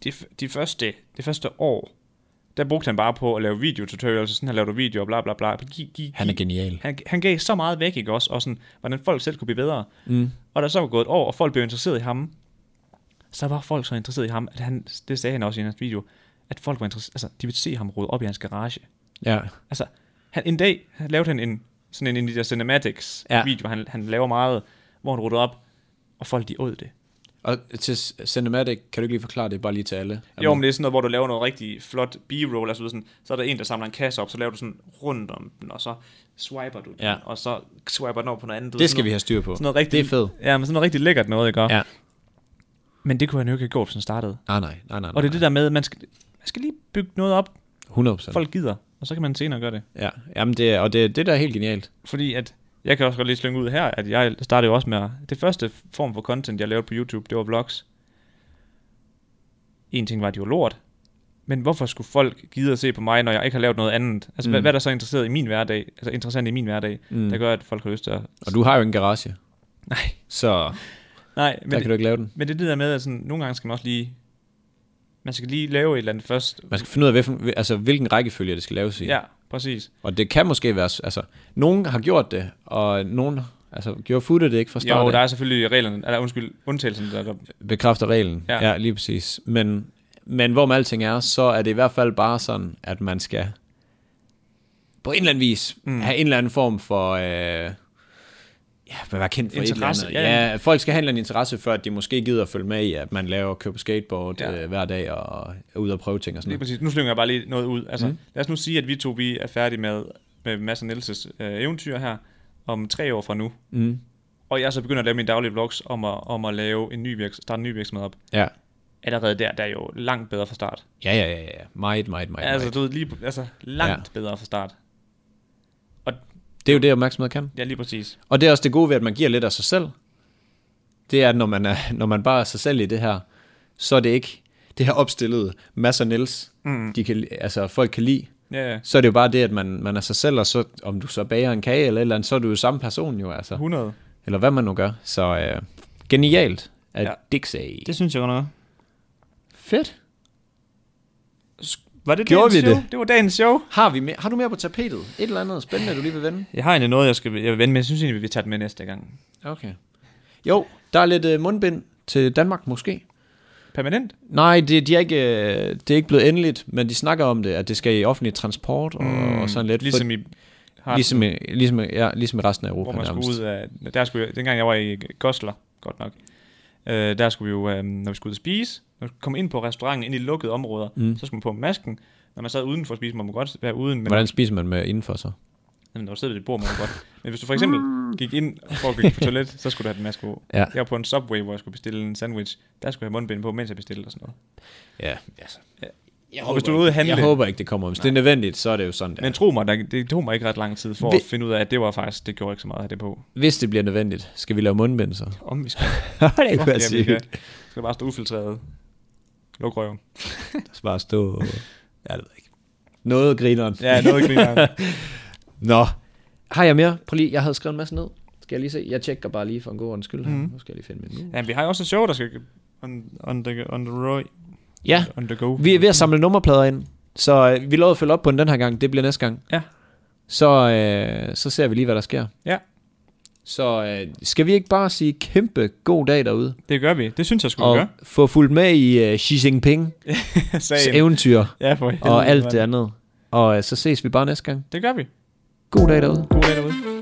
A: de, f- de første, det første år, der brugte han bare på at lave videotutorials, og sådan her laver du videoer, bla bla bla. Gi, gi,
B: Han er
A: gi-
B: genial.
A: Han, han gav så meget væk, ikke også? Og sådan, hvordan folk selv kunne blive bedre. Mm. Og der så var gået et år, og folk blev interesseret i ham. Så var folk så interesseret i ham, at han, det sagde han også i hans video, at folk var interesseret, altså de ville se ham rode op i hans garage.
B: Ja.
A: Altså, han, en dag han- lavede han en, sådan en, en af de der cinematics
B: Ja.
A: ja. video, han, han laver meget, hvor han rodede op, og folk de åd det.
B: Og til Cinematic, kan du ikke lige forklare det bare lige til alle?
A: Jo, men det er sådan noget, hvor du laver noget rigtig flot b-roll, altså du ved sådan, så er der en, der samler en kasse op, så laver du sådan rundt om den, og så swiper du den,
B: Ja.
A: og så swiper den over på noget andet. du ved,
B: Det
A: sådan
B: skal vi
A: noget-
B: have styr på.
A: Sådan noget rigtig,
B: Det er fedt.
A: Ja, men sådan noget rigtig lækkert noget, ikke? Ja.
B: Ja.
A: Men det kunne han jo ikke have gjort, hvis han startede.
B: Nej, nej, nej, nej.
A: Og det er
B: nej.
A: det der med, at man skal, man skal lige bygge noget op,
B: 100%.
A: folk gider, og så kan man senere gøre det.
B: Ja, jamen det, er- og det, er- det der er helt genialt.
A: Fordi at, jeg kan også godt lige slynge ud her, at jeg startede jo også med, at, det første form for content, jeg lavede på YouTube, det var vlogs. En ting var, at det var lort, men hvorfor skulle folk gide at se på mig, når jeg ikke har lavet noget andet? Altså, mm. hvad, hvad er der så interesseret i min hverdag, altså interessant i min hverdag, mm. der gør, at folk har lyst til at...
B: Og du har jo en garage,
A: Nej,
B: så
A: nej,
B: der
A: men
B: kan
A: det,
B: du ikke lave den.
A: men det er det der med, at sådan, nogle gange skal man også lige... Man skal lige lave et eller andet først.
B: Man skal finde ud af, hvilken, altså, hvilken rækkefølge det skal laves i.
A: Ja, præcis.
B: Og det kan måske være... s- Altså, nogen har gjort det, og nogen Altså, gjorde Futter det ikke fra start?
A: Jo,
B: af?
A: der er selvfølgelig reglerne, eller undskyld, undtagelsen, der, der
B: bekræfter reglen.
A: Ja.
B: Ja. ja, lige præcis. Men, men hvor med alting er, så er det i hvert fald bare sådan, at man skal på en eller anden vis mm. have en eller anden form for... Øh, ja, man være kendt for
A: Interesse,
B: et eller andet.
A: ja,
B: Ja, ja, folk skal have en eller anden interesse, før de måske gider at følge med i, at man laver købe skateboard
A: Ja.
B: ja. øh, hver dag og er ude og prøve ting og sådan
A: Lige
B: noget.
A: præcis. Nu slynger jeg bare lige noget ud.
B: Mhm.
A: Altså, mm. Lad os nu sige, at vi to vi er færdige med, med Mads og Nielses øh, eventyr her om tre år fra nu.
B: Mm.
A: Og jeg så begynder at lave mine daglige vlogs om at, om at lave en ny virks- starte en ny virksomhed op.
B: Ja.
A: Allerede der, der er jo langt bedre fra start.
B: Ja, ja, ja, ja. Meget, meget, meget.
A: altså,
B: meget.
A: du ved, lige, altså langt ja. bedre fra start. Og
B: Det er jo det, opmærksomhed kan.
A: ja, lige præcis.
B: Og det er også det gode ved, at man giver lidt af sig selv. Det er, at når man, er, når man bare er sig selv i det her, så er det ikke det her opstillede Mads og Niels, mm. de kan, altså folk kan lide.
A: Ja, ja.
B: Så er det jo bare det, at man, man er sig selv, og så, om du så bager en kage eller et eller andet, så er du jo samme person jo, altså.
A: 100.
B: Eller hvad man nu gør. Så øh, genialt at
A: Ja.
B: ja. Dick sagde. Det...
A: synes jeg godt nok.
B: Fedt.
A: Var det
B: Gjorde
A: dagens
B: vi
A: show? Det var dagens show.
B: Har, vi mere, har du mere på tapetet? Et eller andet spændende, du lige vil vende?
A: Jeg har egentlig noget, jeg, skal, jeg vil vende med. Jeg synes egentlig, vi tager det med næste gang.
B: Okay. Jo, der er lidt øh, mundbind til Danmark måske.
A: Permanent?
B: Nej, det, de er ikke, øh, det er ikke blevet endeligt, men de snakker om det, at det skal i offentlig transport og, mm, og sådan lidt.
A: Ligesom i
B: for,
A: har
B: ligesom, i, ligesom, i- ja, ligesom i resten af Europa
A: hvor man
B: nærmest.
A: skulle ud af... Der skulle, jeg- dengang jeg var i Goslar, godt nok, øh, der skulle vi jo, øh, når vi skulle ud og spise, når vi kom ind på restauranten, ind i lukkede områder, mm. så skulle man på med masken. Når man sad udenfor at spise, må man godt være uden, men
B: Hvordan spiser man med indenfor så?
A: jamen, når du sidder ved dit bord, må man godt. Men hvis du for eksempel gik ind for at gå på toilet, så skulle du have den maske på.
B: Ja.
A: Jeg var på en subway, hvor jeg skulle bestille en sandwich. Der skulle jeg have mundbind på, mens jeg bestilte og sådan noget.
B: Ja, altså. Jeg
A: Og hvis du er ude at handle-
B: Jeg håber ikke, det kommer. Hvis Nej. det er nødvendigt, så er det jo sådan der.
A: Men
B: Men,
A: tro mig, der, det tog mig ikke ret lang tid for
B: Vi-
A: at finde ud af, at det var faktisk, det gjorde ikke så meget at have det på.
B: hvis det bliver nødvendigt, skal vi lave mundbind så?
A: Om vi skal.
B: det
A: Fuck, ja, vi skal. Skal bare stå ufiltreret. Luk røven.
B: Bare stå og... Ja, det ved jeg ikke. Noget grineren.
A: Ja, noget griner.
B: Nå. Har jeg mere? Prøv lige, jeg havde skrevet en masse ned. Skal jeg lige se? Jeg tjekker bare lige for en god ordens skyld. Mm. Nu skal jeg lige finde min nu.
A: Ja, vi har jo også et show, der skal on, on, the, on the road.
B: Ja,
A: On the go.
B: Vi er ved at samle nummerplader ind, så øh, vi lovede at følge op på den den her gang. Det bliver næste gang.
A: Ja.
B: Så, øh, så ser vi lige, hvad der sker.
A: Ja.
B: Så øh, skal vi ikke bare sige kæmpe god dag derude?
A: Det gør vi. Det synes jeg skulle
B: og
A: vi gøre.
B: få fulgt med i øh, Xi Jinping's
A: Sagen.
B: eventyr
A: Ja, for helvede,
B: og alt
A: mand.
B: det andet. Og øh, så ses vi bare næste gang.
A: Det gør vi.
B: God dag derude.
A: God dag derude.